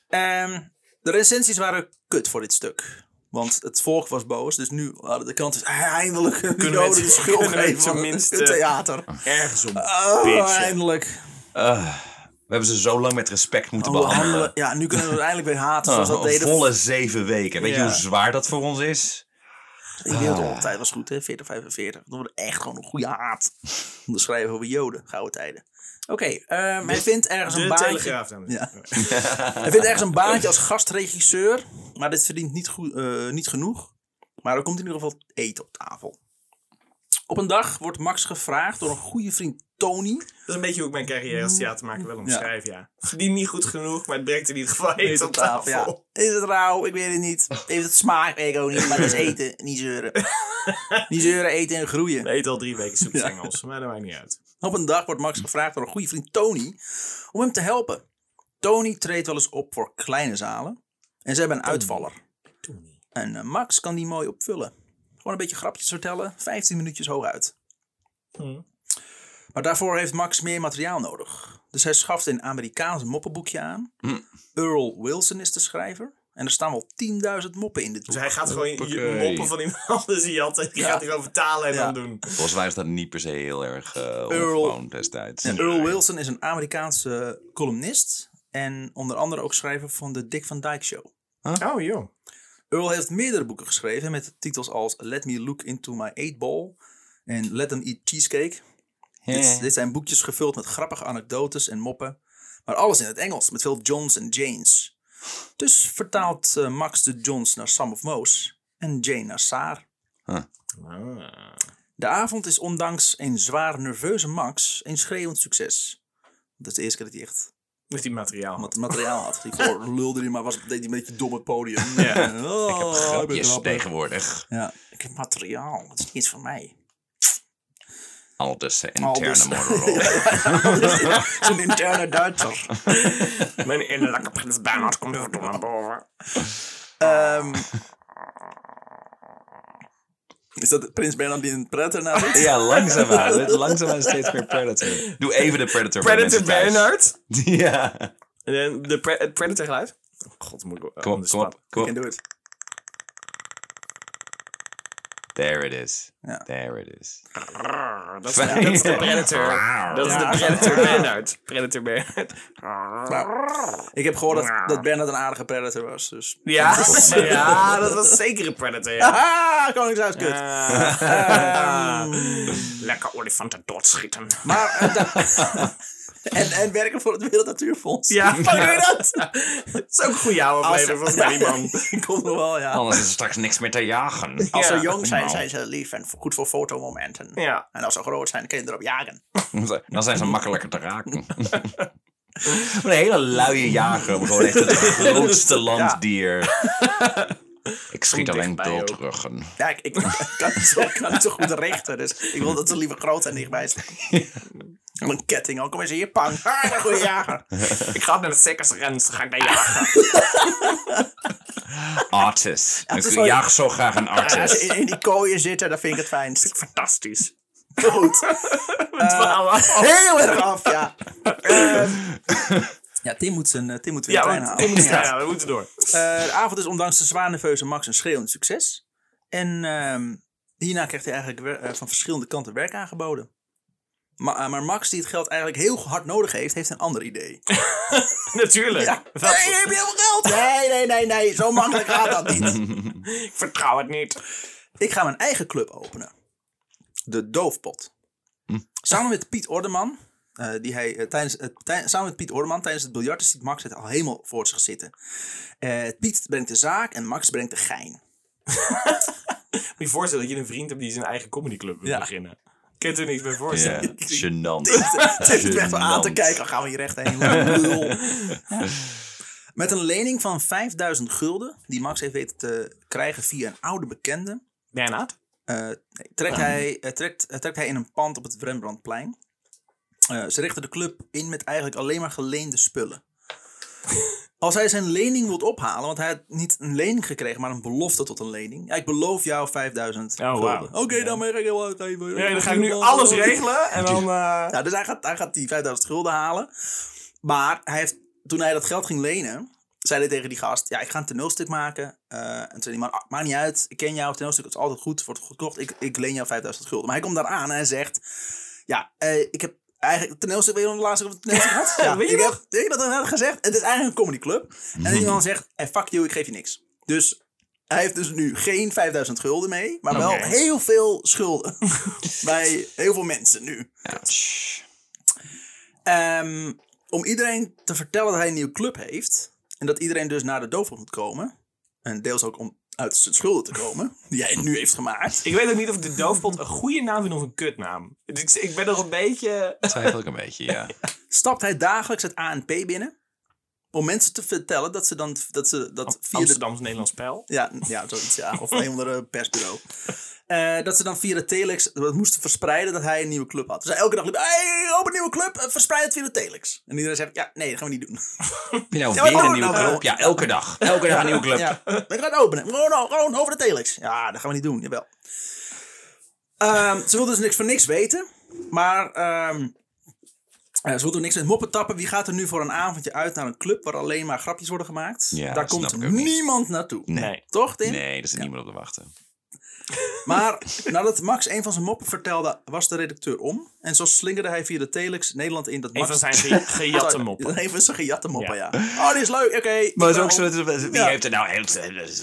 Speaker 1: Ehm, de recensies waren kut voor dit stuk. Want het volk was boos, dus nu hadden de kant eindelijk een
Speaker 4: Kunnen we
Speaker 1: Joden de
Speaker 4: het-
Speaker 1: schuld
Speaker 4: kunnen we het eh,
Speaker 1: geven van het
Speaker 4: tenminste-
Speaker 1: het theater.
Speaker 4: Ergens om.
Speaker 1: Oh,
Speaker 4: Bitchen.
Speaker 1: eindelijk.
Speaker 3: Ah, we hebben ze zo lang met respect moeten
Speaker 1: Oh, we
Speaker 3: behandelen.
Speaker 1: handelen- ja, nu kunnen we het eindelijk weer haten zoals
Speaker 3: Ah,
Speaker 1: dat
Speaker 3: een
Speaker 1: deden.
Speaker 3: volle zeven weken. Weet je
Speaker 4: Ja.
Speaker 3: hoe zwaar dat voor ons is?
Speaker 1: Die
Speaker 4: Ah.
Speaker 1: wereldoorlogtijd was goed, hè? 40, 45. Dat wordt echt gewoon een goede haat. Onderschrijven over Joden, gouden tijden. Oké, ehm, hij vindt ergens een
Speaker 4: De
Speaker 1: baantje.
Speaker 4: Telegraaf, dames en
Speaker 1: Ja. Hij vindt ergens een baantje als gastregisseur, maar dit verdient niet, goed, eh, niet genoeg. Maar er komt in ieder geval eten op tafel. Op een dag wordt Max gevraagd door een goede vriend Tony.
Speaker 4: Dat is een beetje hoe ik mijn carrière als theatermaker wil omschrijven, ja. Verdien niet goed genoeg, maar het brengt in ieder geval eten op tafel.
Speaker 1: Ja. Is het rauw? Ik weet het niet. Heeft het smaak? Weet ik ook niet. Maar het is eten, niet zeuren. niet zeuren, eten en groeien.
Speaker 4: We eten al drie weken soepjes Engels, maar dat maakt niet uit.
Speaker 1: Op een dag wordt Max gevraagd door een goede vriend Tony om hem te helpen. Tony treedt wel eens op voor kleine zalen en ze hebben een uitvaller. En eh, Max kan die mooi opvullen. Gewoon een beetje grapjes vertellen, 15 minuutjes hooguit.
Speaker 4: Hmm.
Speaker 1: Maar daarvoor heeft Max meer materiaal nodig. Dus hij schaft een Amerikaans moppenboekje aan. Earl Wilson is de schrijver. En En er staan wel 10.000 moppen in dit boek.
Speaker 4: Dus hij gaat gewoon je
Speaker 3: Hoppakee.
Speaker 4: moppen van iemand anders jatten. Die
Speaker 1: Ja.
Speaker 4: gaat hij gewoon vertalen en
Speaker 1: Ja.
Speaker 4: dan doen.
Speaker 3: Volgens mij is dat niet per se heel erg eh
Speaker 1: Earl-
Speaker 3: ongewoon destijds.
Speaker 1: En Earl Wilson is een Amerikaanse eh, columnist. En onder andere ook schrijver van de Dick Van Dyke Show.
Speaker 4: Oh joh.
Speaker 1: Earl heeft meerdere boeken geschreven met titels als Let Me Look Into My Eight Ball en Let Them Eat Cheesecake. Dit, dit zijn boekjes gevuld met grappige anekdotes en moppen, maar alles in het Engels met veel Johns en Janes. Dus vertaalt eh, Max de Johns naar Sam of Moos en Jane naar Saar.
Speaker 4: Ah.
Speaker 1: De avond is ondanks een zwaar nerveuze Max een schreeuwend succes. Dat is de eerste keer dat hij echt
Speaker 4: Met die materiaal.
Speaker 1: wat materiaal had. Die voor lulde hij maar was, deed hij een beetje dom op het podium.
Speaker 4: Ja.
Speaker 1: Oh,
Speaker 3: Ik heb
Speaker 1: ik ben
Speaker 3: grapjes
Speaker 1: grappig.
Speaker 3: tegenwoordig.
Speaker 1: Ja, ik heb materiaal. Het is niets van mij.
Speaker 3: Al dus de
Speaker 1: Al
Speaker 3: interne
Speaker 1: dus-
Speaker 3: modderrol.
Speaker 1: Zo'n interne Duitser.
Speaker 2: Mijn innerlijke prins Bernhard komt weer door naar boven.
Speaker 1: Ehm, is dat Prins Bernhard die een pretter na zit?
Speaker 3: Ja, langzaamaan. Dit- Langzaamaan steeds meer Predator. Doe even de Predator voor de mensen
Speaker 4: Predator
Speaker 3: thuis.
Speaker 4: Bernard.
Speaker 3: Ja.
Speaker 4: En dan de pre- het Predator geluid. Oh, God, moet ik wel-
Speaker 3: Kom op,
Speaker 4: anders
Speaker 3: kom op,
Speaker 4: praten.
Speaker 3: kom
Speaker 1: En
Speaker 3: op.
Speaker 1: doe het.
Speaker 3: There it is.
Speaker 1: Ja.
Speaker 3: There it is.
Speaker 2: Brrr, Dat is
Speaker 3: Fijn.
Speaker 4: Dat is de Predator. Dat is de
Speaker 1: Ja.
Speaker 4: Predator Bernard. Predator Bernard.
Speaker 1: Ik heb gehoord dat, dat Bernhard een aardige predator was. Dus.
Speaker 4: Ja, ja dat was zeker een Predator. Ja.
Speaker 1: Ah, Koningshuis kut.
Speaker 4: Ah. Ehm.
Speaker 2: lekker olifanten doodschieten.
Speaker 1: Maar, eh, da- en, en werken voor het Wereld Natuurfonds.
Speaker 4: Ja, hoe doe je dat? Dat is ook een goede oude aflevering volgens mij, die man.
Speaker 1: Komt nog wel, ja.
Speaker 3: Anders is er straks niks meer te jagen.
Speaker 1: Als ze
Speaker 4: Ja.
Speaker 1: jong zijn,
Speaker 3: Nou.
Speaker 1: zijn ze lief en goed voor fotomomenten.
Speaker 4: Ja.
Speaker 1: En als ze groot zijn, kun je erop jagen.
Speaker 3: Dan zijn ze makkelijker te raken. Wat een hele luie jager. maar Gewoon echt het grootste landdier. Ik schiet alleen
Speaker 4: dichtbij ook.
Speaker 3: bultruggen.
Speaker 1: Ja, ik, ik kan, het zo, kan het zo goed richten. Dus ik wil dat ze liever groot en dichtbij staan. En een ketting ook. Kom eens hier, pang. Ah, een goede jager.
Speaker 4: Ik ga naar de circusrens, ga ik daar jagen.
Speaker 3: Artis.
Speaker 1: het is
Speaker 3: Ik
Speaker 1: wel-
Speaker 3: jaag zo graag een
Speaker 1: Ja, als ze
Speaker 3: artis.
Speaker 1: in, in die kooien zitten, dan vind ik het fijnst.
Speaker 4: Fantastisch.
Speaker 1: Goed. Heel erg af, ja. Ehm, ja, Tim moet, zijn, eh, Tim moet weer
Speaker 4: Ja,
Speaker 1: een trein
Speaker 4: want
Speaker 1: halen.
Speaker 4: ik moest-
Speaker 1: Ja.
Speaker 4: ja, we moeten door.
Speaker 1: Eh, de avond is ondanks de zwaar nerveuze Max een schreeuwend succes. En ehm, hierna krijgt hij eigenlijk wer- eh, van verschillende kanten werk aangeboden. Ma- eh, maar Max, die het geld eigenlijk heel hard nodig heeft, heeft een ander idee.
Speaker 4: Natuurlijk.
Speaker 1: Ja, hey, heb je heel veel geld? Nee, nee, nee, nee, zo makkelijk gaat dat niet.
Speaker 4: Ik vertrouw het niet.
Speaker 1: Ik ga mijn eigen club openen. De Doofpot. Hm. Samen met Piet Ordeman, eh, die hij, eh, tijdens, het- tij- samen met Piet Ordeman tijdens het biljarten ziet Max het al helemaal voor zich zitten. Eh, Piet brengt de zaak en Max brengt de gein.
Speaker 4: Moet je je voorstellen dat je een vriend hebt die zijn eigen comedyclub wil
Speaker 1: Ja.
Speaker 4: beginnen. Ik kan je er niks bij
Speaker 3: Ja,
Speaker 4: voorstellen.
Speaker 3: gênant.
Speaker 1: Het heeft het echt wel aan te
Speaker 3: Gênant.
Speaker 1: kijken. Dan gaan we hier echt heen. Lul. Ja. Met een lening van 5000 gulden, die Max heeft weten te krijgen via een oude bekende,
Speaker 4: Bernard?
Speaker 1: eh, trekt,
Speaker 4: Ah.
Speaker 1: hij, eh, trekt, eh, trekt hij in een pand op het Rembrandtplein. Eh, ze richten de club in met eigenlijk alleen maar geleende spullen. Als hij zijn lening wilt ophalen, want hij had niet een lening gekregen, maar een belofte tot een lening. Ja, ik beloof jou 5000
Speaker 4: Oh, wauw.
Speaker 1: gulden. Oké, daarmee ga ik heel uitgeven.
Speaker 4: Nee, dan ga ik nu alles regelen en dan... eh,
Speaker 1: Ja, dus hij gaat, hij gaat die 5000 gulden halen. Maar hij heeft, toen hij dat geld ging lenen, zei hij tegen die gast: Ja, ik ga een toneelstuk maken. Eh, en toen zei hij: Maar ah, maakt niet uit, ik ken jou, het toneelstuk is altijd goed, wordt goed gekocht, ik, ik leen jou 5000 gulden. Maar hij komt daar aan en hij zegt: Ja, eh, ik heb. Eigenlijk, het toneelstuk, weet je nog de laatste keer dat ik het toneelstuk had? Ja,
Speaker 4: Weet je
Speaker 1: ik heb, weet je dat had gezegd? Het is eigenlijk een comedyclub. En die man zegt, en fuck you, ik geef je niks. Dus hij heeft dus nu geen 5000 gulden mee, maar wel
Speaker 4: Oké.
Speaker 1: heel veel schulden. bij heel veel mensen nu.
Speaker 3: Ja, tsch.
Speaker 1: Ehm, om iedereen te vertellen dat hij een nieuwe club heeft. En dat iedereen dus naar de doofpot moet komen. En deels ook om uit zijn schulden te komen. Die hij nu heeft gemaakt.
Speaker 4: Ik weet ook niet of de doofpot een goede naam vindt of een kutnaam. Dus Ik, ik ben nog een beetje...
Speaker 3: Twijfel ik een beetje, ja.
Speaker 1: Stapt hij dagelijks het ANP binnen. Om mensen te vertellen dat ze dan... Dat ze, dat via de,
Speaker 4: Amsterdams-Nederlands spel.
Speaker 1: ja, ja, zoiets. Ja, of een andere persbureau. Eh, dat ze dan via de telex dat moesten verspreiden dat hij een nieuwe club had. Dus hij elke dag liep, hey, open een nieuwe club, eh, verspreid het via de telex. En iedereen zegt, ja, nee, dat gaan we niet doen.
Speaker 3: Heb je nou
Speaker 1: Ja, maar
Speaker 3: weer een
Speaker 1: oh,
Speaker 3: nieuwe
Speaker 1: nou,
Speaker 3: club? Ja, elke dag. Elke dag een nieuwe club.
Speaker 1: Ja, we gaan het openen. Gewoon, o- gewoon over de telex. Ja, dat gaan we niet doen. Jawel. Ehm, ze wil dus niks van niks weten. Maar ehm, Eh, ze wil doen niks met moppen tappen. Wie gaat er nu voor een avondje uit naar een club waar alleen maar grapjes worden gemaakt?
Speaker 3: Ja,
Speaker 1: Daar
Speaker 3: dat
Speaker 1: komt
Speaker 3: snap ik ook niet.
Speaker 1: niemand naartoe.
Speaker 3: Nee.
Speaker 4: Nee.
Speaker 1: Toch, Tim?
Speaker 3: Nee, daar zit niemand op te wachten.
Speaker 1: Maar nadat Max een van zijn moppen vertelde, was de redacteur om. En zo slingerde hij via de telex Nederland in dat
Speaker 4: Een
Speaker 1: Max...
Speaker 4: van zijn ge- gejatte moppen.
Speaker 1: Even zijn gejatte moppen, ja. Oh, die is leuk, oké. ik
Speaker 3: Maar het is
Speaker 1: ben
Speaker 3: ook
Speaker 1: op.
Speaker 3: zo, dat- wie
Speaker 1: Ja.
Speaker 3: heeft er nou heel...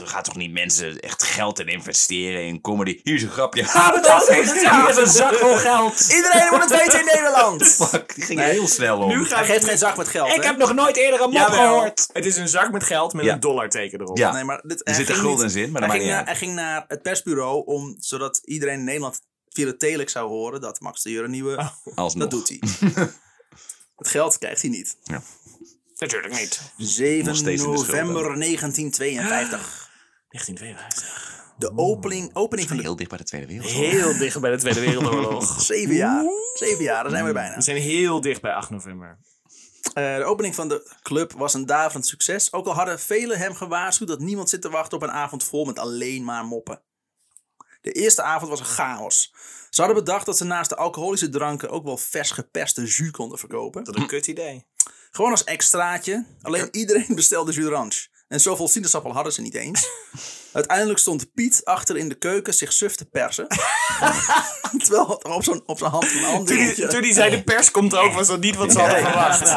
Speaker 3: er Gaat toch niet mensen echt geld in investeren in comedy? Hier is een grapje. Ah, maar dat is het. Hier is een zak vol geld.
Speaker 1: Iedereen moet het weten in Nederland.
Speaker 3: Fuck, die ging heel snel om.
Speaker 4: Nu
Speaker 1: Hij
Speaker 4: gaat
Speaker 1: geeft geen zak met geld,
Speaker 3: Ik
Speaker 1: hè?
Speaker 3: heb nog nooit eerder een mop
Speaker 4: Jawel,
Speaker 3: gehoord.
Speaker 4: Het is een zak met geld met
Speaker 3: Ja.
Speaker 4: een dollarteken erop.
Speaker 3: Ja.
Speaker 1: Nee, maar dit,
Speaker 3: Er
Speaker 1: hij
Speaker 3: zitten
Speaker 1: ging
Speaker 3: guldens
Speaker 1: niet-
Speaker 3: in, maar dat
Speaker 1: hij,
Speaker 3: maakt
Speaker 1: ging
Speaker 3: niet
Speaker 1: naar, hij
Speaker 3: uit.
Speaker 1: ging naar het persbureau, om, zodat iedereen in Nederland via de telex zou horen dat Max de Jure een nieuwe...
Speaker 4: Oh,
Speaker 3: Alsnog.
Speaker 1: Dat doet hij. het geld krijgt hij niet.
Speaker 4: Natuurlijk niet.
Speaker 1: 7
Speaker 3: Nog steeds in de
Speaker 1: november 1952.
Speaker 4: 1952.
Speaker 1: De
Speaker 4: Oh.
Speaker 1: opening, opening van de...
Speaker 3: Heel dicht bij de Tweede Wereldoorlog.
Speaker 4: Heel dicht bij de Tweede Wereldoorlog.
Speaker 1: Zeven jaar. Zeven jaar, daar zijn we bijna.
Speaker 4: We zijn heel dicht bij 8 november.
Speaker 1: Eh, de opening van de club was een daverend succes. Ook al hadden velen hem gewaarschuwd dat niemand zit te wachten op een avond vol met alleen maar moppen. De eerste avond was een chaos. Ze hadden bedacht dat ze naast de alcoholische dranken ook wel vers gepeste jus konden verkopen.
Speaker 4: Dat is een kut idee.
Speaker 1: Gewoon als extraatje. Alleen iedereen bestelde jus d'orange. En zoveel sinaasappel hadden ze niet eens. Uiteindelijk stond Piet achter in de keuken zich suf te persen. Terwijl het op zijn, op zijn hand een ander
Speaker 4: Toen die, toen die zei de pers komt ook, was dat niet wat ze hadden verwacht.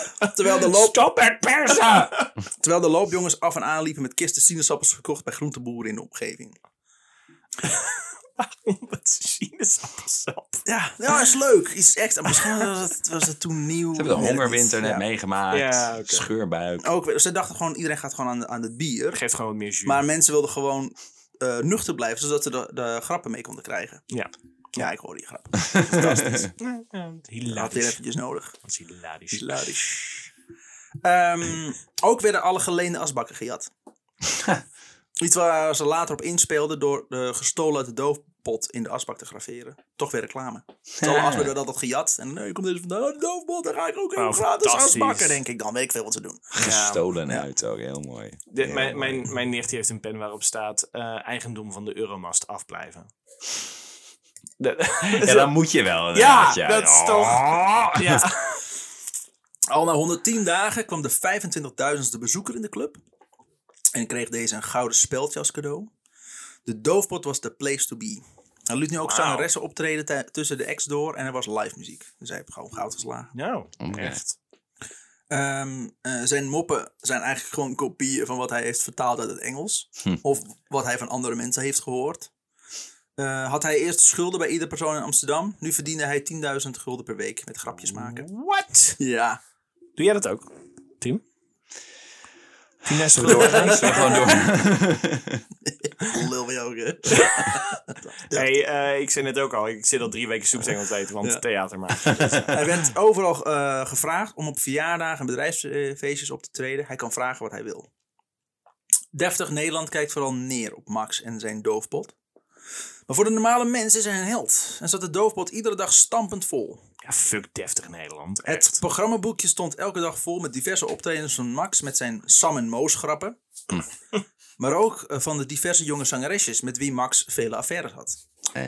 Speaker 1: Terwijl de loop...
Speaker 4: Stop het persen!
Speaker 1: Terwijl de loopjongens af en aan liepen met kisten sinaasappels gekocht bij groenteboeren in de omgeving.
Speaker 4: Omdat ze sinaasappelsap.
Speaker 1: Ja, ja is leuk. Iets extra. Misschien was het, was het toen nieuw.
Speaker 3: Ze hebben de
Speaker 1: Weet ik
Speaker 3: hongerwinter
Speaker 1: niet.
Speaker 3: net
Speaker 1: Ja.
Speaker 3: meegemaakt.
Speaker 4: Ja, oké.
Speaker 3: Scheurbuik.
Speaker 1: Ook, weer- ze dachten gewoon, iedereen gaat gewoon aan, de- aan het bier.
Speaker 4: Geeft gewoon wat meer jus.
Speaker 1: Maar mensen wilden gewoon eh, nuchter blijven, zodat ze de, de grappen mee konden krijgen.
Speaker 4: ja.
Speaker 1: Ja, ik hoor die grap. Fantastisch. Ik
Speaker 4: Ja,
Speaker 1: had dit
Speaker 4: Hilarisch.
Speaker 1: eventjes nodig.
Speaker 4: Dat is hilarisch.
Speaker 1: Hilarisch. Ehm, ook werden alle geleende asbakken gejat. Iets waar ze later op inspeelden door de gestolen uit de doofpot in de asbak te graveren. Toch weer reclame. Terwijl alle asbakken hadden dat gejat. En nee, komt deze vandaan, oh, de doofpot, dan ga ik ook even
Speaker 4: Oh,
Speaker 1: gratis
Speaker 4: fantastisch.
Speaker 1: asbakken, denk ik dan. Weet ik veel wat ze doen.
Speaker 3: Gestolen uit ook, heel mooi.
Speaker 4: De-
Speaker 3: Ja.
Speaker 4: mijn, mijn, mijn nicht die heeft een pen waarop staat eh, eigendom van de Euromast afblijven. De-
Speaker 3: Ja, dan moet je wel.
Speaker 4: ja,
Speaker 3: inderdaad, ja. oh.
Speaker 4: dat is toch... Ja.
Speaker 1: Al na 110 dagen kwam de 25.000ste bezoeker in de club. En kreeg deze een gouden speldje als cadeau. De doofpot was de place to be. Hij liet nu ook zangeressen optreden tij- tussen de acts door en er was live muziek. Dus hij heeft gewoon goud geslagen.
Speaker 4: Nou,
Speaker 3: Oké.
Speaker 4: echt.
Speaker 1: Ehm, eh, zijn moppen zijn eigenlijk gewoon kopieën van wat hij heeft vertaald uit het Engels.
Speaker 3: Hm.
Speaker 1: Of wat hij van andere mensen heeft gehoord. Eh, had hij eerst schulden bij ieder persoon in Amsterdam. Nu verdiende hij 10.000 gulden per week met grapjes maken.
Speaker 4: What?
Speaker 1: Ja.
Speaker 4: Doe jij dat ook, Tim? Tim is
Speaker 3: Zullen we gewoon door.
Speaker 1: Lul van jou ook, hè?
Speaker 4: Hey, eh, ik zei net ook al, ik zit al drie weken soepstengels te eten, want
Speaker 1: Ja.
Speaker 4: theater maar.
Speaker 1: Hij werd overal eh, gevraagd om op verjaardagen en bedrijfsfeestjes op te treden. Hij kan vragen wat hij wil. Deftig Nederland kijkt vooral neer op Max en zijn doofpot. Maar voor de normale mens is hij een held. En zat de doofpot iedere dag stampend vol.
Speaker 4: Ja, fuck deftig Nederland.
Speaker 1: Het
Speaker 4: Echt.
Speaker 1: programmaboekje stond elke dag vol met diverse optredens van Max met zijn Sam en Moos grappen. maar ook eh, van de diverse jonge zangeresjes met wie Max vele affaires had.
Speaker 3: Eh,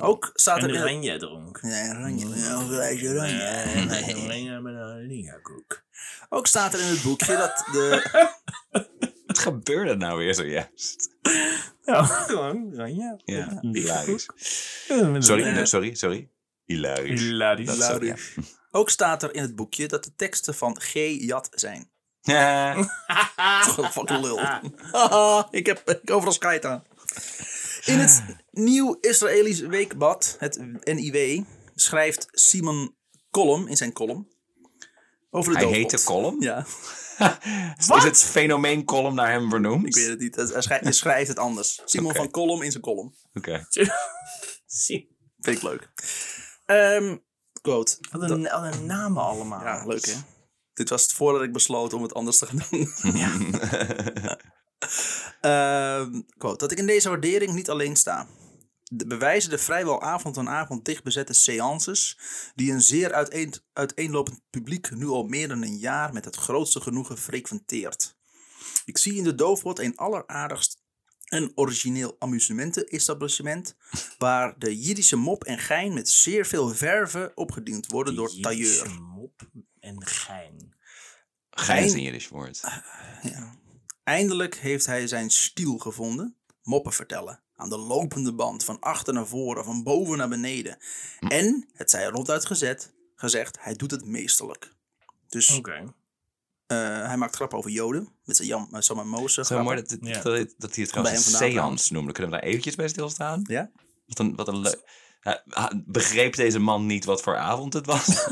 Speaker 1: Ook zaten er...
Speaker 4: oranje dronk.
Speaker 1: Ja, oranje. Ja, oranje, oranje.
Speaker 4: oranje met een lingakoek.
Speaker 1: Ook staat er in het boekje dat de
Speaker 3: Wat gebeurde nou weer zojuist?
Speaker 4: Ja, gewoon oranje.
Speaker 3: Ja,
Speaker 4: Een
Speaker 3: hilarisch.
Speaker 4: Ja, met
Speaker 3: Sorry,
Speaker 4: een-
Speaker 3: nee, sorry, sorry. Hilarisch.
Speaker 4: Hilarisch.
Speaker 3: Dat is ook, ja.
Speaker 1: Ook staat er in het boekje dat de teksten van G. Jat zijn.
Speaker 3: Ja.
Speaker 4: Ah.
Speaker 1: Gewoon fucking lul. Haha, ik heb ik heb overal skite aan. In het Nieuw Israëlisch Weekblad, het NIW, schrijft Simon Kolm in zijn column over de
Speaker 3: Hij
Speaker 1: doofpot.
Speaker 3: heette Column?
Speaker 1: Ja,
Speaker 3: Is het fenomeen Column naar hem
Speaker 1: ik weet
Speaker 3: vernoemd?
Speaker 1: het niet. Hij schrijft, hij schrijft het anders. Simon
Speaker 3: Oké.
Speaker 1: van Kolm in zijn column.
Speaker 3: Oké.
Speaker 4: Zie.
Speaker 1: Vind ik leuk. Ehm, quote.
Speaker 4: Wat een, wat een namen allemaal.
Speaker 1: Ja, leuk hè? Dit was het voordat ik besloot om het anders te gaan doen. Ehm, quote, dat ik in deze waardering niet alleen sta. De bewijzen de vrijwel avond aan avond dichtbezette seances, die een zeer uiteen, uiteenlopend publiek nu al meer dan een jaar met het grootste genoegen frequenteert. Ik zie in de doofpot een alleraardigst en origineel amusementen-establishment, waar de Jiddische mop en gein met zeer veel verve opgediend worden door tailleur.
Speaker 4: en gein.
Speaker 3: Gein is een Jiddisch woord.
Speaker 1: Ah, Eindelijk heeft hij zijn stiel gevonden. Moppen vertellen. Aan de lopende band, van achter naar voren, van boven naar beneden. En, het zij ronduit gezet, gezegd, hij doet het meesterlijk. Dus
Speaker 4: Oké.
Speaker 1: eh, hij maakt grappen over Joden. Met zijn Jam, uh, Sam en Moses.
Speaker 3: Zo mooi
Speaker 1: grappen.
Speaker 3: dat,
Speaker 4: Ja.
Speaker 3: dat, dat, dat hij het
Speaker 1: hem
Speaker 3: trouwens een
Speaker 1: vandaan
Speaker 3: seance noemde. Kunnen we daar eventjes bij stilstaan?
Speaker 1: Ja?
Speaker 3: Wat een, wat een leuk... Hij- hij- Begreep deze man niet wat voor avond het was?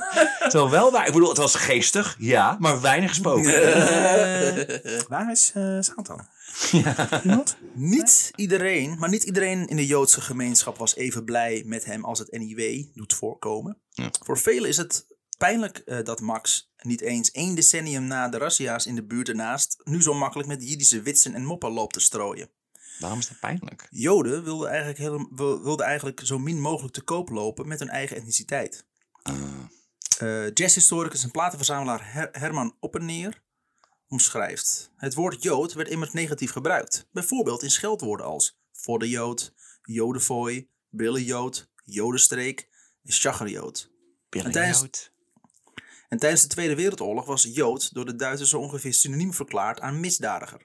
Speaker 3: Zo wel waar. Ik bedoel, het was geestig, ja, maar weinig gesproken.
Speaker 4: Waar is eh, Satan?
Speaker 1: Niet iedereen, maar niet iedereen in de Joodse gemeenschap was even blij met hem als het NIW doet voorkomen.
Speaker 3: Ja.
Speaker 1: Voor velen is het pijnlijk eh, dat Max niet eens één decennium na de razzia's in de buurt ernaast nu zo makkelijk met Jiddische witsen en moppen loopt te strooien.
Speaker 3: Waarom is dat pijnlijk?
Speaker 1: Joden wilden eigenlijk, hele- wil- wilden eigenlijk zo min mogelijk te koop lopen met hun eigen etniciteit. Eh, jazzhistoricus en platenverzamelaar Her- Herman Oppenneer omschrijft. Het woord Jood werd immers negatief gebruikt. Bijvoorbeeld in scheldwoorden als voor de Jood, Jodenfooi, Billenjood, Jodenstreek en Chagerjood.
Speaker 3: Billy
Speaker 1: En tijdens-
Speaker 3: Jood.
Speaker 1: En tijdens de Tweede Wereldoorlog was Jood door de Duitsers zo ongeveer synoniem verklaard aan misdadiger.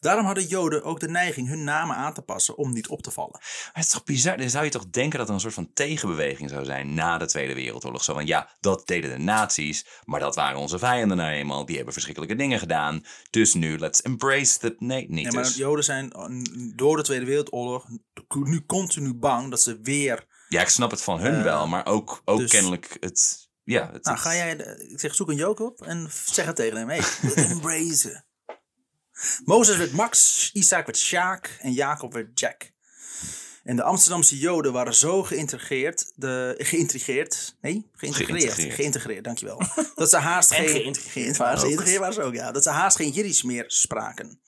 Speaker 1: Daarom hadden Joden ook de neiging hun namen aan te passen om niet op te vallen.
Speaker 3: Maar het is toch bizar? Dan zou je toch denken dat er een soort van tegenbeweging zou zijn na de Tweede Wereldoorlog. Zo van ja, dat deden de nazi's, maar dat waren onze vijanden nou eenmaal. Die hebben verschrikkelijke dingen gedaan. Dus nu, let's embrace the... Nee, niet
Speaker 1: Ja, maar
Speaker 3: dus.
Speaker 1: Joden zijn eh, door de Tweede Wereldoorlog nu continu bang dat ze weer
Speaker 3: Ja, ik snap het van hun wel, maar ook,
Speaker 1: eh,
Speaker 3: ook
Speaker 1: dus-
Speaker 3: kennelijk het... Ja, het,
Speaker 1: Nou,
Speaker 3: het-
Speaker 1: ga jij, de- ik zeg, zoek een joke op en f- zeg het tegen hem. Hey, embrace. Mozes werd Max, Isaac werd Sjaak en Jacob werd Jack. En de Amsterdamse Joden waren zo geïntegreerd, de, geïntrigeerd, nee, geïntegreerd,
Speaker 3: Geïntegreerd.
Speaker 1: geïntegreerd, dankjewel. Dat ze haast
Speaker 4: En
Speaker 1: geen,
Speaker 4: geïntegreerd
Speaker 1: geïntegreerd waren, ze, geïntegreerd waren ze ook, ja. Dat ze haast geen Jiddisch meer spraken.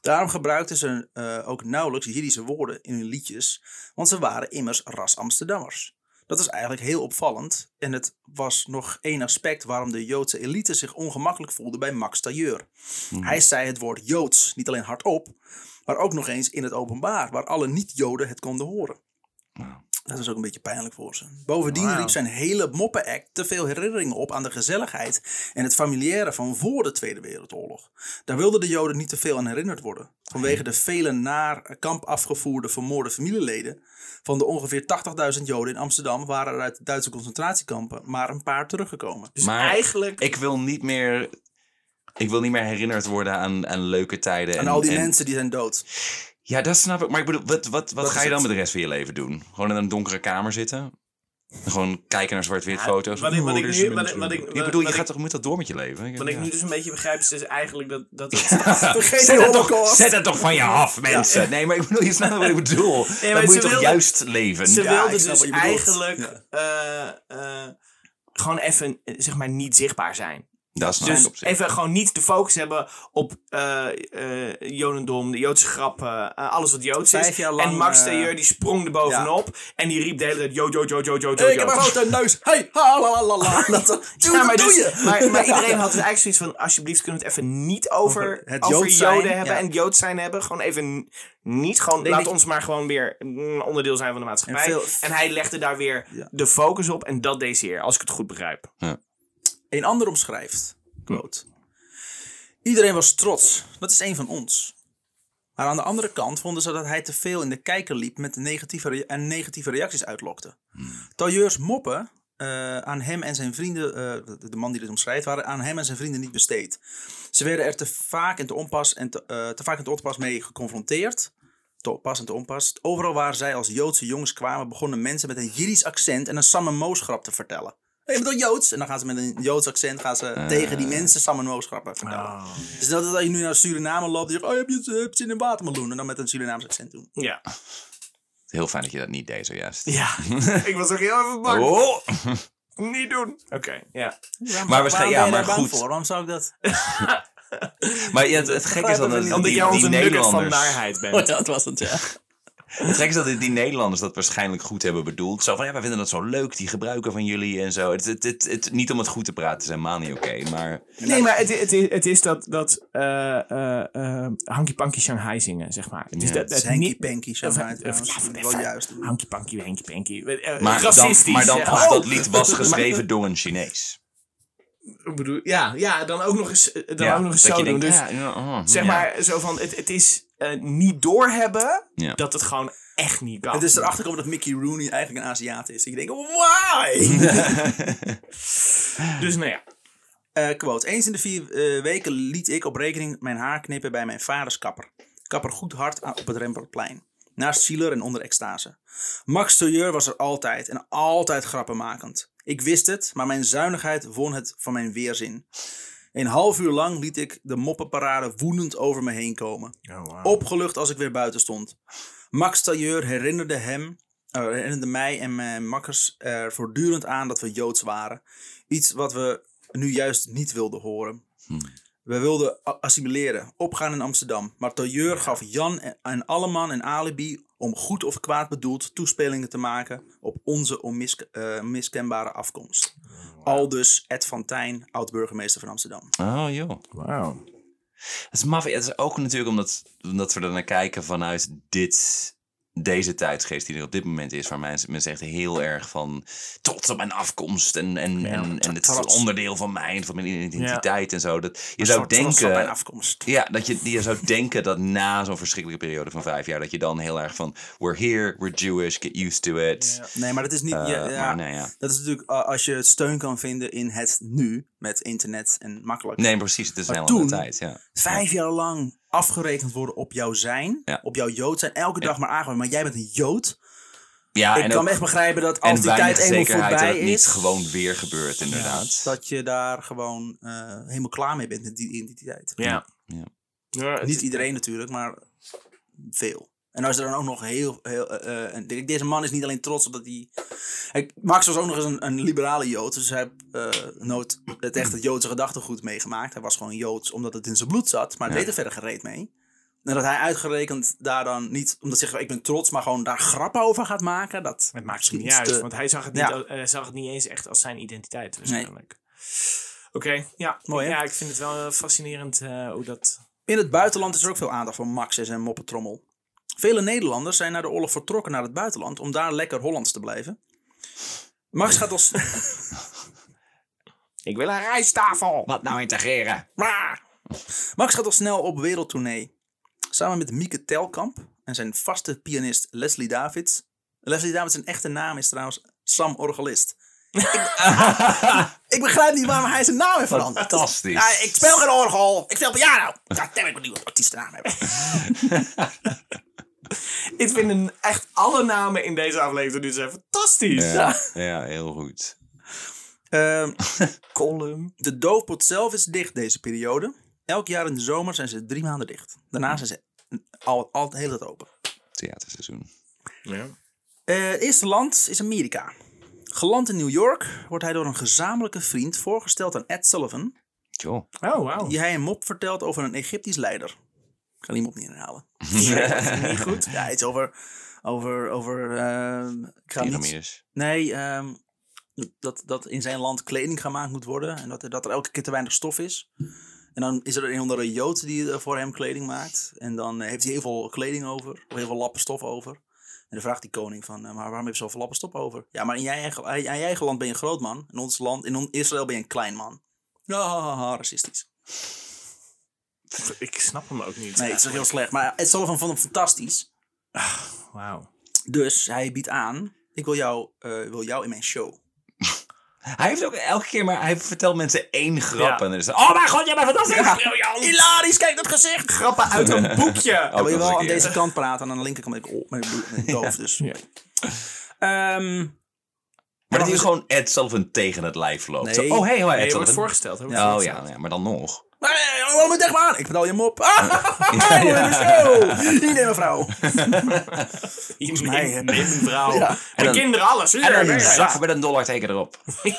Speaker 1: Daarom gebruikten ze eh, ook nauwelijks Jiddische woorden in hun liedjes, want ze waren immers ras Amsterdammers. Dat is eigenlijk heel opvallend. En het was nog één aspect waarom de Joodse elite zich ongemakkelijk voelde bij Max Tailleur. Hij zei het woord Joods niet alleen hardop, maar ook nog eens in het openbaar, waar alle niet-Joden het konden horen. Dat is ook een beetje pijnlijk voor ze. Bovendien
Speaker 4: Nou. Wauw.
Speaker 1: riep zijn hele moppenact te veel herinneringen op aan de gezelligheid en het familiaire van voor de Tweede Wereldoorlog. Daar wilden de Joden niet te veel aan herinnerd worden, vanwege de vele naar kamp afgevoerde vermoorde familieleden. Van de ongeveer 80.000 Joden in Amsterdam waren er uit de Duitse concentratiekampen maar een paar teruggekomen.
Speaker 4: Dus
Speaker 3: Maar
Speaker 4: eigenlijk...
Speaker 3: Ik wil niet meer... Ik wil niet meer herinnerd worden aan, aan leuke tijden.
Speaker 1: En al die mensen die zijn dood.
Speaker 3: Ja, dat snap ik. Maar ik bedoel, wat, wat, wat
Speaker 1: Dat
Speaker 3: ga
Speaker 1: is
Speaker 3: je dan
Speaker 1: het.
Speaker 3: met de rest van je leven doen? Gewoon in een donkere kamer zitten? Gewoon kijken naar zwart-wit foto's?
Speaker 4: wat ik- wat
Speaker 3: Oeh,
Speaker 4: ik
Speaker 3: er is
Speaker 4: nu-
Speaker 3: een
Speaker 4: wat ik- wat ik-
Speaker 3: mens-
Speaker 4: wat-
Speaker 3: ik bedoel, je
Speaker 4: wat
Speaker 3: gaat
Speaker 4: ik-
Speaker 3: toch moet dat door met je leven?
Speaker 4: Wat ik
Speaker 3: Ja.
Speaker 4: nu dus een beetje begrijp is, is eigenlijk dat... dat het,
Speaker 1: Vergeet de Holocaust.
Speaker 3: Zet het toch van je af, mensen. Nee, maar ik bedoel, je snapt wat ik bedoel.
Speaker 4: maar
Speaker 3: dan moet
Speaker 4: ze
Speaker 3: je toch
Speaker 4: wilden-
Speaker 3: juist leven.
Speaker 4: Ze
Speaker 3: Ja.
Speaker 1: ik
Speaker 4: wilden
Speaker 1: snap
Speaker 4: dus
Speaker 1: wat je bedoelt.
Speaker 4: eigenlijk eh, eh, gewoon even, eh, zeg maar, niet zichtbaar zijn.
Speaker 3: Dat is
Speaker 4: Dus
Speaker 3: dus op zich.
Speaker 4: even gewoon niet de focus hebben op eh, eh, Jodendom, de Joodse grappen, eh, alles wat Joods
Speaker 1: Vijf
Speaker 4: is.
Speaker 1: jaar lang,
Speaker 4: en Max
Speaker 1: eh,
Speaker 4: Tailleur die sprong er bovenop en die riep de hele tijd Jood, Jood, Jood, Jood, Jood,
Speaker 1: Ik heb
Speaker 4: Jood.
Speaker 1: een grote neus. Hey, ha, la, la, la, la. Dat, doe,
Speaker 4: Ja, maar,
Speaker 1: doe
Speaker 4: dus-
Speaker 1: je.
Speaker 4: maar, maar iedereen had dus eigenlijk zoiets van: alsjeblieft, kunnen we het even niet over,
Speaker 1: Over het
Speaker 4: over
Speaker 1: Jood zijn,
Speaker 4: Joden hebben
Speaker 1: ja.
Speaker 4: en Jood zijn hebben? Gewoon even niet. Gewoon,
Speaker 1: denk
Speaker 4: laat
Speaker 1: dat-
Speaker 4: ons maar gewoon weer een onderdeel zijn van de maatschappij. En,
Speaker 1: En veel-
Speaker 4: hij legde daar weer
Speaker 1: Ja.
Speaker 4: de focus op en dat deed ze hier, als ik het goed begrijp.
Speaker 1: Een ander omschrijft, quote. Iedereen was trots, dat is een van ons. Maar aan de andere kant vonden ze dat hij te veel in de kijker liep met negatieve re- en negatieve reacties uitlokte. Tailleurs moppen eh, aan hem en zijn vrienden, eh, de- de man die dit omschrijft, waren aan hem en zijn vrienden niet besteed. Ze werden er te vaak en te onpas, en te, eh, te vaak en te onpas mee geconfronteerd. Te pas en te onpas. Overal waar zij als Joodse jongens kwamen, begonnen mensen met een Jiddisch accent en een Sam en Moos grap te vertellen. Hé, hey, Joods? En dan gaan ze met een Joods accent gaan ze
Speaker 3: Eh.
Speaker 1: tegen die mensen Sam en Moos grappen vertellen.
Speaker 3: Oh.
Speaker 1: Dus dat is dat je nu naar Suriname loopt, die zegt, oh, heb je het- heb je zin in watermeloen? En dan met een Surinaams accent doen.
Speaker 4: Ja.
Speaker 3: Heel fijn dat je dat niet deed zojuist.
Speaker 4: ja. ik was ook heel even bang.
Speaker 3: Oh.
Speaker 4: Niet doen. Oké, ja.
Speaker 3: Maar we gaan-
Speaker 1: Waarom
Speaker 3: ja,
Speaker 1: ben je
Speaker 3: maar
Speaker 1: daar bang
Speaker 3: goed.
Speaker 1: voor? Waarom zou ik dat?
Speaker 3: Maar ja, het, het gekke
Speaker 1: Begrijp
Speaker 3: is
Speaker 1: het
Speaker 3: dan dat
Speaker 1: niet.
Speaker 3: die,
Speaker 4: Omdat jij
Speaker 3: die
Speaker 4: onze nugget van
Speaker 3: Nederlanders...
Speaker 4: waarheid bent.
Speaker 1: dat was het, ja.
Speaker 3: Het gek is dat die Nederlanders dat waarschijnlijk goed hebben bedoeld. Zo van, ja, wij vinden dat zo leuk, die gebruiken van jullie en zo. Het, het, het, het- niet om het goed te praten, is helemaal niet oké. maar
Speaker 4: Nee, maar het, het, is, het is dat, dat eh eh eh Hanky Panky Shanghai zingen, zeg maar. Het is
Speaker 3: Ja.
Speaker 4: dat, dat
Speaker 1: Hanky
Speaker 4: niet-
Speaker 1: Panky, zo
Speaker 4: Of-
Speaker 1: maar
Speaker 4: of-
Speaker 1: trouwens.
Speaker 4: ja,
Speaker 1: Dat is
Speaker 4: of-
Speaker 1: wel juist.
Speaker 4: Hanky Panky, Hanky Panky. Eh, eh,
Speaker 3: maar, dan,
Speaker 4: racistisch.
Speaker 3: maar dan
Speaker 4: eh,
Speaker 3: als
Speaker 4: oh.
Speaker 3: dat lied was geschreven door een Chinees.
Speaker 4: Ik bedoel, ja, ja, dan ook nog eens, eh, dan
Speaker 3: Ja,
Speaker 4: ook nog eens
Speaker 3: dat
Speaker 4: zo
Speaker 3: je
Speaker 4: doen.
Speaker 3: denkt,
Speaker 4: dus
Speaker 3: ja, ja, oh,
Speaker 4: zeg
Speaker 3: ja.
Speaker 4: maar zo van, het, het is eh, niet doorhebben
Speaker 3: Ja.
Speaker 4: dat het gewoon echt niet kan.
Speaker 1: Het is erachter gekomen dat Mickey Rooney eigenlijk een Aziat is. Ik denk, why?
Speaker 4: Dus nou ja.
Speaker 1: Eh, quote. Eens in de vier eh, weken liet ik op rekening mijn haar knippen bij mijn vaders kapper. Kapper goed hard aan- op het Rembrandtplein. Naast Zieler en onder extase. Max Tojeur was er altijd en altijd grappenmakend. Ik wist het, maar mijn zuinigheid won het van mijn weerzin. Een half uur lang liet ik de moppenparade woedend over me heen komen.
Speaker 4: Oh,
Speaker 1: Opgelucht als ik weer buiten stond. Max Tailleur herinnerde hem, eh, herinnerde mij en mijn makkers er voortdurend aan dat we Joods waren. Iets wat we nu juist niet wilden horen.
Speaker 3: Hmm.
Speaker 1: We wilden a- assimileren, opgaan in Amsterdam. Maar Tailleur gaf Jan en- en Alleman een alibi om goed of kwaad bedoeld toespelingen te maken op onze onmiske- eh, onmiskenbare afkomst. Aldus Ed van Tijn, oud-burgemeester van Amsterdam.
Speaker 3: Oh joh.
Speaker 4: Wauw.
Speaker 3: Het is maf. Het is ook natuurlijk omdat, omdat we er naar kijken vanuit dit, deze tijdsgeest die er op dit moment is. Waar mensen, men zegt heel erg van trots op mijn afkomst. En, en, en, en het is een
Speaker 1: trots.
Speaker 3: onderdeel van mij en van mijn identiteit en zo. Dat, je zou
Speaker 1: Soort trots op mijn
Speaker 3: denken...
Speaker 1: afkomst.
Speaker 3: Ja, dat je, je zou denken dat na zo'n verschrikkelijke periode van vijf jaar... dat je dan heel erg van... We're here, we're Jewish, get used to it. Eh,
Speaker 1: Nee, maar dat is niet. ja, ja.
Speaker 3: maar nee, ja.
Speaker 1: Dat is natuurlijk eh, als je steun kan vinden in het nu met internet en makkelijk.
Speaker 3: Nee, precies. Het is een
Speaker 1: Maar
Speaker 3: hele andere
Speaker 1: toen-
Speaker 3: tijd, ja.
Speaker 1: Vijf jaar lang afgerekend worden op jouw zijn,
Speaker 3: Ja.
Speaker 1: op jouw Jood zijn, elke dag maar aangehouden. Maar jij bent een Jood.
Speaker 3: ja
Speaker 1: Ik
Speaker 3: Ah, en
Speaker 1: kan
Speaker 3: ook-
Speaker 1: me echt begrijpen dat
Speaker 3: en
Speaker 1: als die tijd
Speaker 3: weinig
Speaker 1: eenmaal
Speaker 3: zekerheid dat
Speaker 1: voorbij
Speaker 3: het
Speaker 1: is,
Speaker 3: niet gewoon weer gebeurt, inderdaad.
Speaker 1: dat je daar gewoon eh, helemaal klaar mee bent met die identiteit.
Speaker 4: Ja.
Speaker 3: Ja.
Speaker 4: Ja, het-
Speaker 1: Niet iedereen natuurlijk, maar veel. En als er dan ook nog heel... heel eh, eh, en de- deze man is niet alleen trots op dat hij... Hij- Max was ook nog eens een, een liberale Jood. Dus hij heeft eh, nooit het echte Joodse gedachtegoed meegemaakt. Hij was gewoon Joods omdat het in zijn bloed zat. Maar het deed er verder gereed mee. En dat hij uitgerekend daar dan niet... Omdat hij zegt, ik ben trots, maar gewoon daar grappen over gaat maken. Dat
Speaker 4: Het maakt hem niet
Speaker 1: iets
Speaker 4: uit,
Speaker 1: te-
Speaker 4: want hij zag het niet,
Speaker 1: Ja.
Speaker 4: al- hij zag het niet eens echt als zijn identiteit waarschijnlijk. Oké, ja.
Speaker 1: Mooi, hè?
Speaker 4: ja, ik vind het wel eh, fascinerend eh, hoe dat...
Speaker 1: In het buitenland is er ook veel aandacht voor Max en zijn moppetrommel. Vele Nederlanders zijn na de oorlog vertrokken naar het buitenland om daar lekker Hollands te blijven. Max gaat als.
Speaker 4: Ik wil een rijsttafel!
Speaker 3: Wat nou integreren?
Speaker 1: Max gaat al snel op wereldtournee. Samen met Mieke Telkamp en zijn vaste pianist Leslie Davids. Leslie Davids zijn echte naam is trouwens Sam Orgelist. Ik, ik begrijp niet waarom hij zijn naam heeft veranderd.
Speaker 3: Fantastisch.
Speaker 1: Ja, ik speel geen orgel, ik speel piano. God damn, ik moet nu een artiestennaam hebben.
Speaker 4: Ik vind een- echt alle namen in deze aflevering nu zijn fantastisch.
Speaker 3: Ja, ja, heel goed.
Speaker 1: Ehm,
Speaker 4: Column.
Speaker 1: De doofpot zelf is dicht deze periode. Elk jaar in de zomer zijn ze drie maanden dicht. Daarna zijn ze al, al de hele tijd open.
Speaker 3: Theaterseizoen.
Speaker 4: Ja.
Speaker 1: Eh, het eerste land is Amerika. Geland in New York wordt hij door een gezamenlijke vriend voorgesteld aan Ed Sullivan,
Speaker 3: Joh.
Speaker 4: Oh, wauw.
Speaker 1: die hij een mop vertelt over een Egyptisch leider. Ik kan die mop niet herhalen. niet goed? Ja, iets over. Over. over ehm, ik ga niet-
Speaker 3: Pyramides.
Speaker 1: Nee, ehm, dat, dat in zijn land kleding gemaakt moet worden. En dat er, dat er elke keer te weinig stof is. En dan is er een andere Jood die eh, voor hem kleding maakt. En dan eh, heeft hij heel veel kleding over. Of heel veel lappen stof over. En dan vraagt die koning van, eh, maar waarom heb je zoveel lappen stof over? Ja, maar in je eigen, in je eigen land ben je een groot man. In ons land, in on- Israël ben je een klein man. Ah, racistisch.
Speaker 4: Ik snap hem ook niet.
Speaker 1: Nee, het is heel slecht. Maar Ed Sullivan vond hem fantastisch.
Speaker 4: Wauw.
Speaker 1: Dus hij biedt aan, ik wil jou, eh, wil jou in mijn show.
Speaker 3: Hij heeft ook elke keer maar... Hij vertelt mensen één grap
Speaker 4: Ja.
Speaker 3: en dan is het... Oh mijn god, jij bent fantastisch!
Speaker 4: Briljant!
Speaker 1: Hilarisch, kijk dat gezicht!
Speaker 4: Grappen uit een boekje!
Speaker 3: Ook
Speaker 1: wil je
Speaker 3: nog eens
Speaker 1: wel
Speaker 3: een
Speaker 1: aan
Speaker 3: keer.
Speaker 1: deze kant praten en aan de linkerkant ben ik op. Maar ik bedoel, ik ben doof, dus.
Speaker 4: Ja.
Speaker 1: Ehm,
Speaker 3: Maar dat
Speaker 1: Ja,
Speaker 3: hij gewoon Ed Sullivan tegen het lijf loopt.
Speaker 1: Nee.
Speaker 3: Zo, oh, hey, hey, Ed
Speaker 4: Nee, je wordt
Speaker 3: Sullivan.
Speaker 4: voorgesteld. hè, wordt
Speaker 3: Oh
Speaker 4: voorgesteld.
Speaker 3: ja, ja, maar dan nog.
Speaker 1: maar, eh, waarom moet ik echt maar aan? Ik vertel je hem op. Ah, ja, ja. Show. Iedereen mevrouw.
Speaker 4: Volgens
Speaker 1: mij, hè.
Speaker 4: vrouw.
Speaker 1: Ja.
Speaker 4: En
Speaker 3: dan-
Speaker 4: kinderen, alles.
Speaker 3: En dan
Speaker 4: Ja,
Speaker 3: een
Speaker 4: ja, ja.
Speaker 3: zak met een dollar teken erop.
Speaker 4: Oh.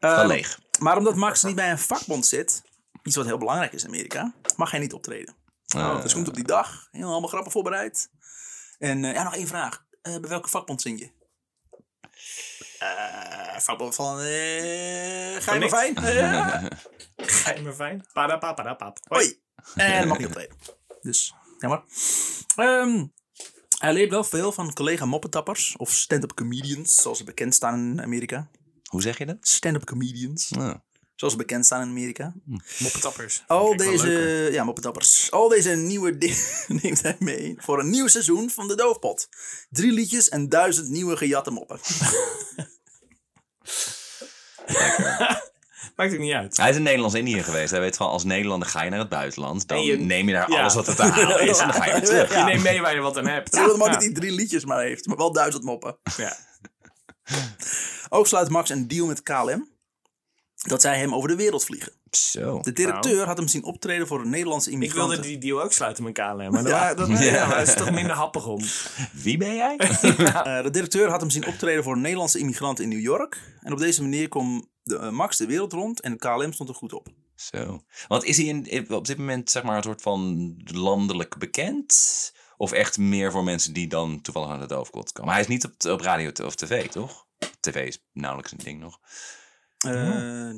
Speaker 3: Van leeg.
Speaker 1: Maar omdat Max niet bij een vakbond zit, iets wat heel belangrijk is in Amerika, mag hij niet optreden.
Speaker 3: Eh,
Speaker 1: Dus komt op die dag, heel allemaal grappen voorbereid. En eh, ja, nog één vraag. Eh, bij welke vakbond zing je? Eh, vakbond van eh Geheime
Speaker 4: niks.
Speaker 1: Fijn. Eh,
Speaker 4: Geheime fijn. Padapapadapap. Hoi.
Speaker 1: Hoi. En mag niet optreden. Dus, jammer. Ehm, hij leert wel veel van collega moppetappers of stand-up comedians, zoals ze bekend staan in Amerika.
Speaker 3: Hoe zeg je dat?
Speaker 1: Stand-up comedians.
Speaker 3: Nou,
Speaker 1: Zoals ze bekend staan in Amerika.
Speaker 4: Moppetappers.
Speaker 1: Al
Speaker 4: Vind ik wel leuk,
Speaker 1: deze, ja, moppetappers. Al deze nieuwe dingen neemt hij mee voor een nieuw seizoen van de Doofpot. Drie liedjes en duizend nieuwe gejatte moppen.
Speaker 4: hoor. Maakt ook niet uit.
Speaker 3: Hij is in Nederlands-Indië geweest. Hij weet van, als Nederlander ga je naar het buitenland. Dan
Speaker 4: En je-
Speaker 3: neem je daar
Speaker 4: ja.
Speaker 3: alles wat er te halen is en dan ga je weer terug.
Speaker 4: Je neemt mee waar je wat aan hebt.
Speaker 1: Het is wel mooi
Speaker 4: Ja.
Speaker 1: dat hij drie liedjes maar heeft, maar wel duizend moppen.
Speaker 4: Ja.
Speaker 1: Ook sluit Max een deal met KLM dat zij hem over de wereld vliegen.
Speaker 3: Zo.
Speaker 1: De directeur had hem zien optreden voor een Nederlandse
Speaker 4: Nou. Ik
Speaker 1: immigranten.
Speaker 4: wilde die deal ook sluiten met KLM.
Speaker 1: Ja.
Speaker 4: Maar daar dat, dat, ja, maar dat is toch minder happig om.
Speaker 3: Wie ben jij?
Speaker 1: Eh, de directeur had hem zien optreden voor een Nederlandse immigranten in New York. En op deze manier kwam de, eh, Max de wereld rond en KLM stond er goed op.
Speaker 3: Zo. Want is hij in, op dit moment zeg maar een soort van landelijk bekend? Of echt meer voor mensen die dan toevallig aan de doofkot komen? Hij is niet op, op radio t- of tv, toch? TV is nauwelijks een ding nog.
Speaker 1: Eh,
Speaker 4: Oh.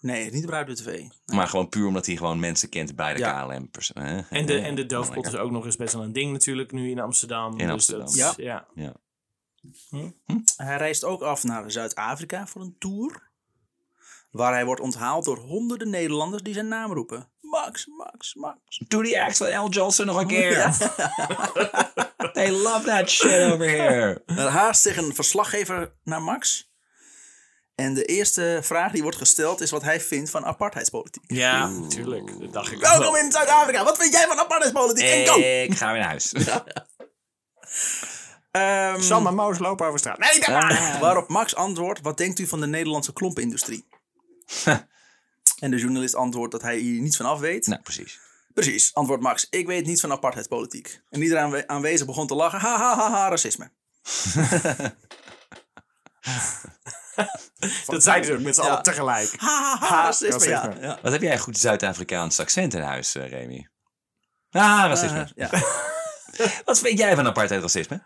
Speaker 1: Nee, niet op Radio 2.
Speaker 3: Maar gewoon puur omdat hij gewoon mensen kent bij de
Speaker 1: Ja.
Speaker 3: KLM. pers- eh,
Speaker 4: En de,
Speaker 3: eh,
Speaker 4: en de doofpot
Speaker 3: lekker.
Speaker 4: is ook nog eens best wel een ding natuurlijk nu in Amsterdam.
Speaker 3: In
Speaker 4: dus
Speaker 3: Amsterdam.
Speaker 4: dat-
Speaker 1: Ja.
Speaker 4: ja.
Speaker 1: Hij reist ook af naar Zuid-Afrika voor een tour. Waar hij wordt onthaald door honderden Nederlanders die zijn naam roepen. Max, Max, Max.
Speaker 3: Doe die act van L. Johnson nog een keer. They love that shit over here.
Speaker 1: Er Eh, haast zich een verslaggever naar Max. En de eerste vraag die wordt gesteld is wat hij vindt van apartheidspolitiek.
Speaker 4: Ja, natuurlijk. Dat dacht ik ook wel.
Speaker 1: Welkom in Zuid-Afrika. Wat vind jij van apartheidspolitiek? En go!
Speaker 3: Ik ga weer naar huis.
Speaker 1: Ehm,
Speaker 4: Eh, Sam eh, en Maus lopen over straat. Nee, daar-
Speaker 3: Ah.
Speaker 1: Waarop Max antwoordt: Wat denkt u van de Nederlandse klompenindustrie? en de journalist antwoordt dat hij hier niets van af weet.
Speaker 3: nou, precies.
Speaker 1: Precies, antwoordt Max: Ik weet niets van apartheidspolitiek. En iedereen aanwe- aanwezig begon te lachen: ha ha ha, ha racisme.
Speaker 4: dat zeiden ze ook met z'n
Speaker 1: Ja.
Speaker 4: allen tegelijk.
Speaker 1: Ha ha ha,
Speaker 4: Ha,
Speaker 1: racisme. Ja,
Speaker 4: racisme.
Speaker 1: ja.
Speaker 3: Wat heb jij een goed Zuid-Afrikaans accent in huis, eh, Remy? Ah, racisme.
Speaker 1: Eh, ja.
Speaker 3: Eh, Wat vind jij van apartheid racisme?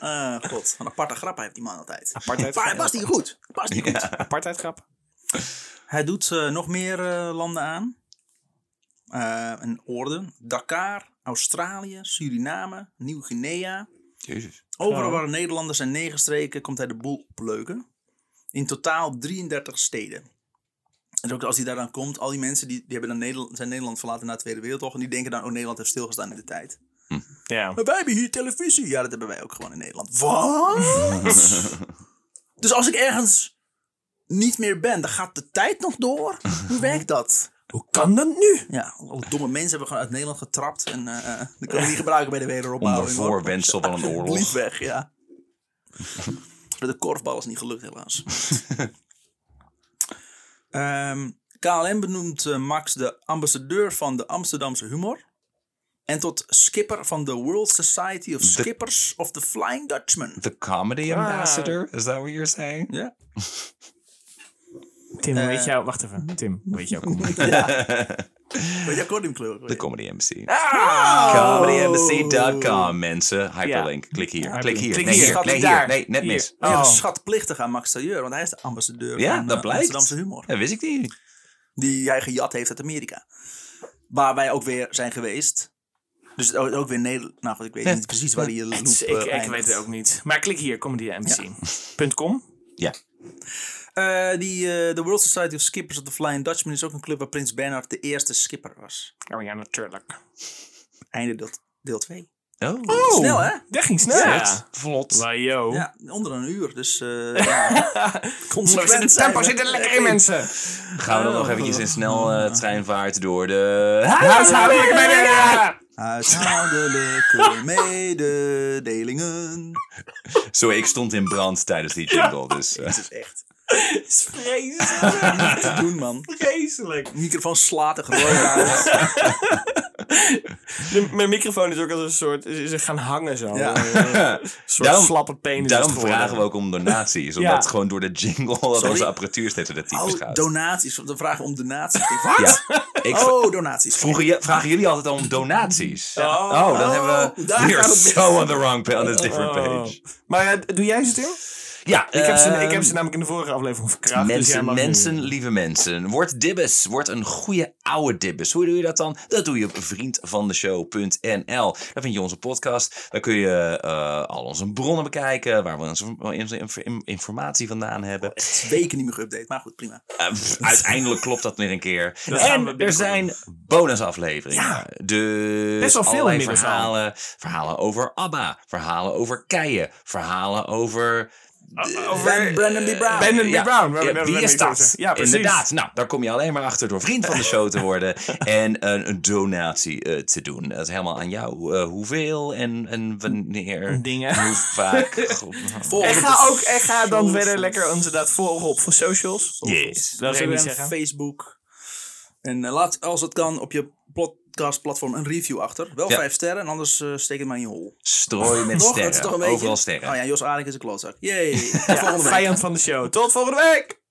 Speaker 1: Eh, god, een aparte grap heeft die man altijd.
Speaker 4: Apartheid.
Speaker 1: Maar hij past hier goed. Past hier goed.
Speaker 4: Apartheidgrap.
Speaker 1: Hij doet eh, nog meer eh, landen aan. Eh een orde. Dakar, Australië, Suriname, Nieuw-Guinea.
Speaker 3: Jezus.
Speaker 1: Overal waar Nederlanders zijn neergestreken, komt hij de boel opleuken. In totaal 33 steden. En ook als hij daar dan komt, al die mensen die, die hebben dan Nederland, zijn Nederland verlaten na de Tweede Wereldoorlog. En die denken dan, oh Nederland heeft stilgestaan in de tijd.
Speaker 4: Ja.
Speaker 1: Maar wij hebben hier televisie. Ja, dat hebben wij ook gewoon in Nederland. Wat? dus als ik ergens niet meer ben, dan gaat de tijd nog door? Hoe werkt dat?
Speaker 4: Hoe kan dat nu?
Speaker 1: Ja, alle domme mensen hebben gewoon uit Nederland getrapt. En eh, eh, die kunnen we niet gebruiken bij de wederopbouw.
Speaker 3: Onder voorwendsel van een oorlog.
Speaker 1: Lief weg, ja. Met de korfbal is niet gelukt, helaas. Ehm, KLM benoemt eh, Max de ambassadeur van de Amsterdamse humor. En tot skipper van de World Society of Skippers of the Flying Dutchman.
Speaker 3: The comedy ambassador? Is that what you're saying?
Speaker 1: Ja.
Speaker 4: Tim, weet jou... Wacht even. Tim, weet jou
Speaker 1: Weet je, Oh! accordeonkleur?
Speaker 3: The comedy embassy. Comedyembassy.com, mensen. Hyperlink. Klik hier. Klik hier.
Speaker 4: Klik
Speaker 3: nee,
Speaker 4: hier.
Speaker 3: hier.
Speaker 4: Staat
Speaker 3: Nee,
Speaker 4: hij
Speaker 3: hier.
Speaker 4: daar?
Speaker 3: Nee, net
Speaker 4: Hier.
Speaker 3: mis.
Speaker 1: Ja,
Speaker 4: Oh.
Speaker 1: schatplichtig aan Max Tailleur, want hij is de ambassadeur
Speaker 3: Ja,
Speaker 1: van
Speaker 3: dat
Speaker 1: eh,
Speaker 3: blijkt.
Speaker 1: Amsterdamse humor.
Speaker 3: Dat wist ik niet.
Speaker 1: die hij gejat heeft uit Amerika. Waar wij ook weer zijn geweest. Dus het ook, ook weer Nederland. Nou goed, ik weet niet precies waar die loop
Speaker 4: Het is-
Speaker 1: eh,
Speaker 4: ik, ik
Speaker 1: eindigt.
Speaker 4: weet het ook niet. Maar klik hier, comedy MC. Punt com.
Speaker 3: Ja.
Speaker 1: Eh, die, eh, de World Society of Skippers of the Flying Dutchman is ook een club waar Prins Bernhard de eerste skipper was.
Speaker 4: Oh ja, natuurlijk.
Speaker 1: Einde deel- deel 2.
Speaker 3: Oh.
Speaker 1: Snel hè?
Speaker 4: Dat ging snel. Ja.
Speaker 3: Echt? Vlot.
Speaker 4: Maar yo.
Speaker 1: Ja, onder een uur. Dus eh ja.
Speaker 4: Zo zit
Speaker 1: Consequent
Speaker 4: het
Speaker 1: zijn
Speaker 4: tempo
Speaker 1: we.
Speaker 4: zit er lekker in, mensen.
Speaker 3: Gaan we dan nog eventjes in snel eh, treinvaart door de... huishoudelijke
Speaker 4: Huishoudelijke mededelingen.
Speaker 1: Huishoudelijke mededelingen.
Speaker 3: Sorry, ik stond in brand tijdens die jingle, dus... eh,
Speaker 1: Het is echt
Speaker 4: Het is vreselijk.
Speaker 1: niet te doen man.
Speaker 4: Vreselijk.
Speaker 1: De microfoon slaat er gewoon aan.
Speaker 4: De- mijn microfoon is ook als een soort... Is, is gaan hangen zo. Eh,
Speaker 1: Ja.
Speaker 4: Een soort
Speaker 3: Daarom-
Speaker 4: slappe penis. is
Speaker 3: eh, Daarom
Speaker 4: het geworden.
Speaker 3: vragen we ook om donaties.
Speaker 4: Ja.
Speaker 3: Omdat gewoon door de jingle dat
Speaker 1: Sorry?
Speaker 3: onze apparatuur steeds door de types
Speaker 1: Oh,
Speaker 3: gaat.
Speaker 1: donaties. De vraag om donaties. Wat?
Speaker 3: Ja. Ik v-
Speaker 1: Oh, donaties.
Speaker 3: vroegen je- vragen jullie altijd om donaties.
Speaker 4: Oh.
Speaker 3: Oh, dan hebben we...
Speaker 1: daar
Speaker 3: We are
Speaker 1: gaat het mis.
Speaker 3: so on the wrong page, on a different
Speaker 4: Oh.
Speaker 3: page.
Speaker 4: Maar eh, doe jij ze, Tim?
Speaker 3: Ja,
Speaker 4: Ik heb, ze,
Speaker 3: ehm,
Speaker 4: ik heb ze namelijk in de vorige aflevering verkracht. dus jij
Speaker 3: Mensen,
Speaker 4: mag nu.
Speaker 3: mensen, lieve mensen. Word dibbes. Word een goede oude dibbes. Hoe doe je dat dan? Dat doe je op vriendvandeshow.nl. Daar vind je onze podcast. Daar kun je eh, al onze bronnen bekijken. Waar we onze onze inf- in- informatie vandaan hebben.
Speaker 1: Weken niet meer geüpdate, maar goed, prima.
Speaker 3: Eh, pff, uiteindelijk klopt dat weer een keer.
Speaker 4: gaan we
Speaker 3: en er
Speaker 4: binnenkort
Speaker 3: zijn bonusafleveringen.
Speaker 4: Ja.
Speaker 3: Dus
Speaker 4: Best wel veel
Speaker 3: allerlei
Speaker 4: inmiddels al.
Speaker 3: verhalen. Verhalen over ABBA. Verhalen over keien. Verhalen over...
Speaker 4: O-
Speaker 1: Brandon-
Speaker 4: Over
Speaker 1: Brandon B. Brown.
Speaker 4: Brandon B.
Speaker 3: Ja,
Speaker 4: Brown. waar we
Speaker 3: ja,
Speaker 4: net
Speaker 3: wie
Speaker 4: mee
Speaker 3: is dat?
Speaker 4: zaten. Ja, precies.
Speaker 3: Inderdaad. Nou, daar kom je alleen maar achter door vriend van de show te worden en een, een donatie eh, te doen. Dat is helemaal aan jou. Eh, hoeveel en, en wanneer?
Speaker 4: Dingen.
Speaker 3: Hoe vaak? God,
Speaker 1: Volg
Speaker 4: En
Speaker 1: ons op
Speaker 4: oh. ga
Speaker 1: de
Speaker 4: ook en ga dan
Speaker 1: socials.
Speaker 4: verder lekker ons inderdaad volgen op voor socials.
Speaker 3: Yes.
Speaker 4: Dat zou ik niet
Speaker 1: Instagram,
Speaker 4: zeggen.
Speaker 1: Facebook. En eh, laat, als het kan, op je podcastplatform een review achter. Wel
Speaker 3: Ja.
Speaker 1: vijf sterren, en anders eh, steek het maar in je hol.
Speaker 3: Strooi met
Speaker 1: Toch?
Speaker 3: sterren.
Speaker 4: Oh
Speaker 1: Dat is toch een beetje...
Speaker 3: Overal sterren.
Speaker 1: Oh ja, Jos Aarink is een klootzak. Yay. Tot
Speaker 4: Ja,
Speaker 1: volgende week.
Speaker 4: vijand van de show. Tot volgende week!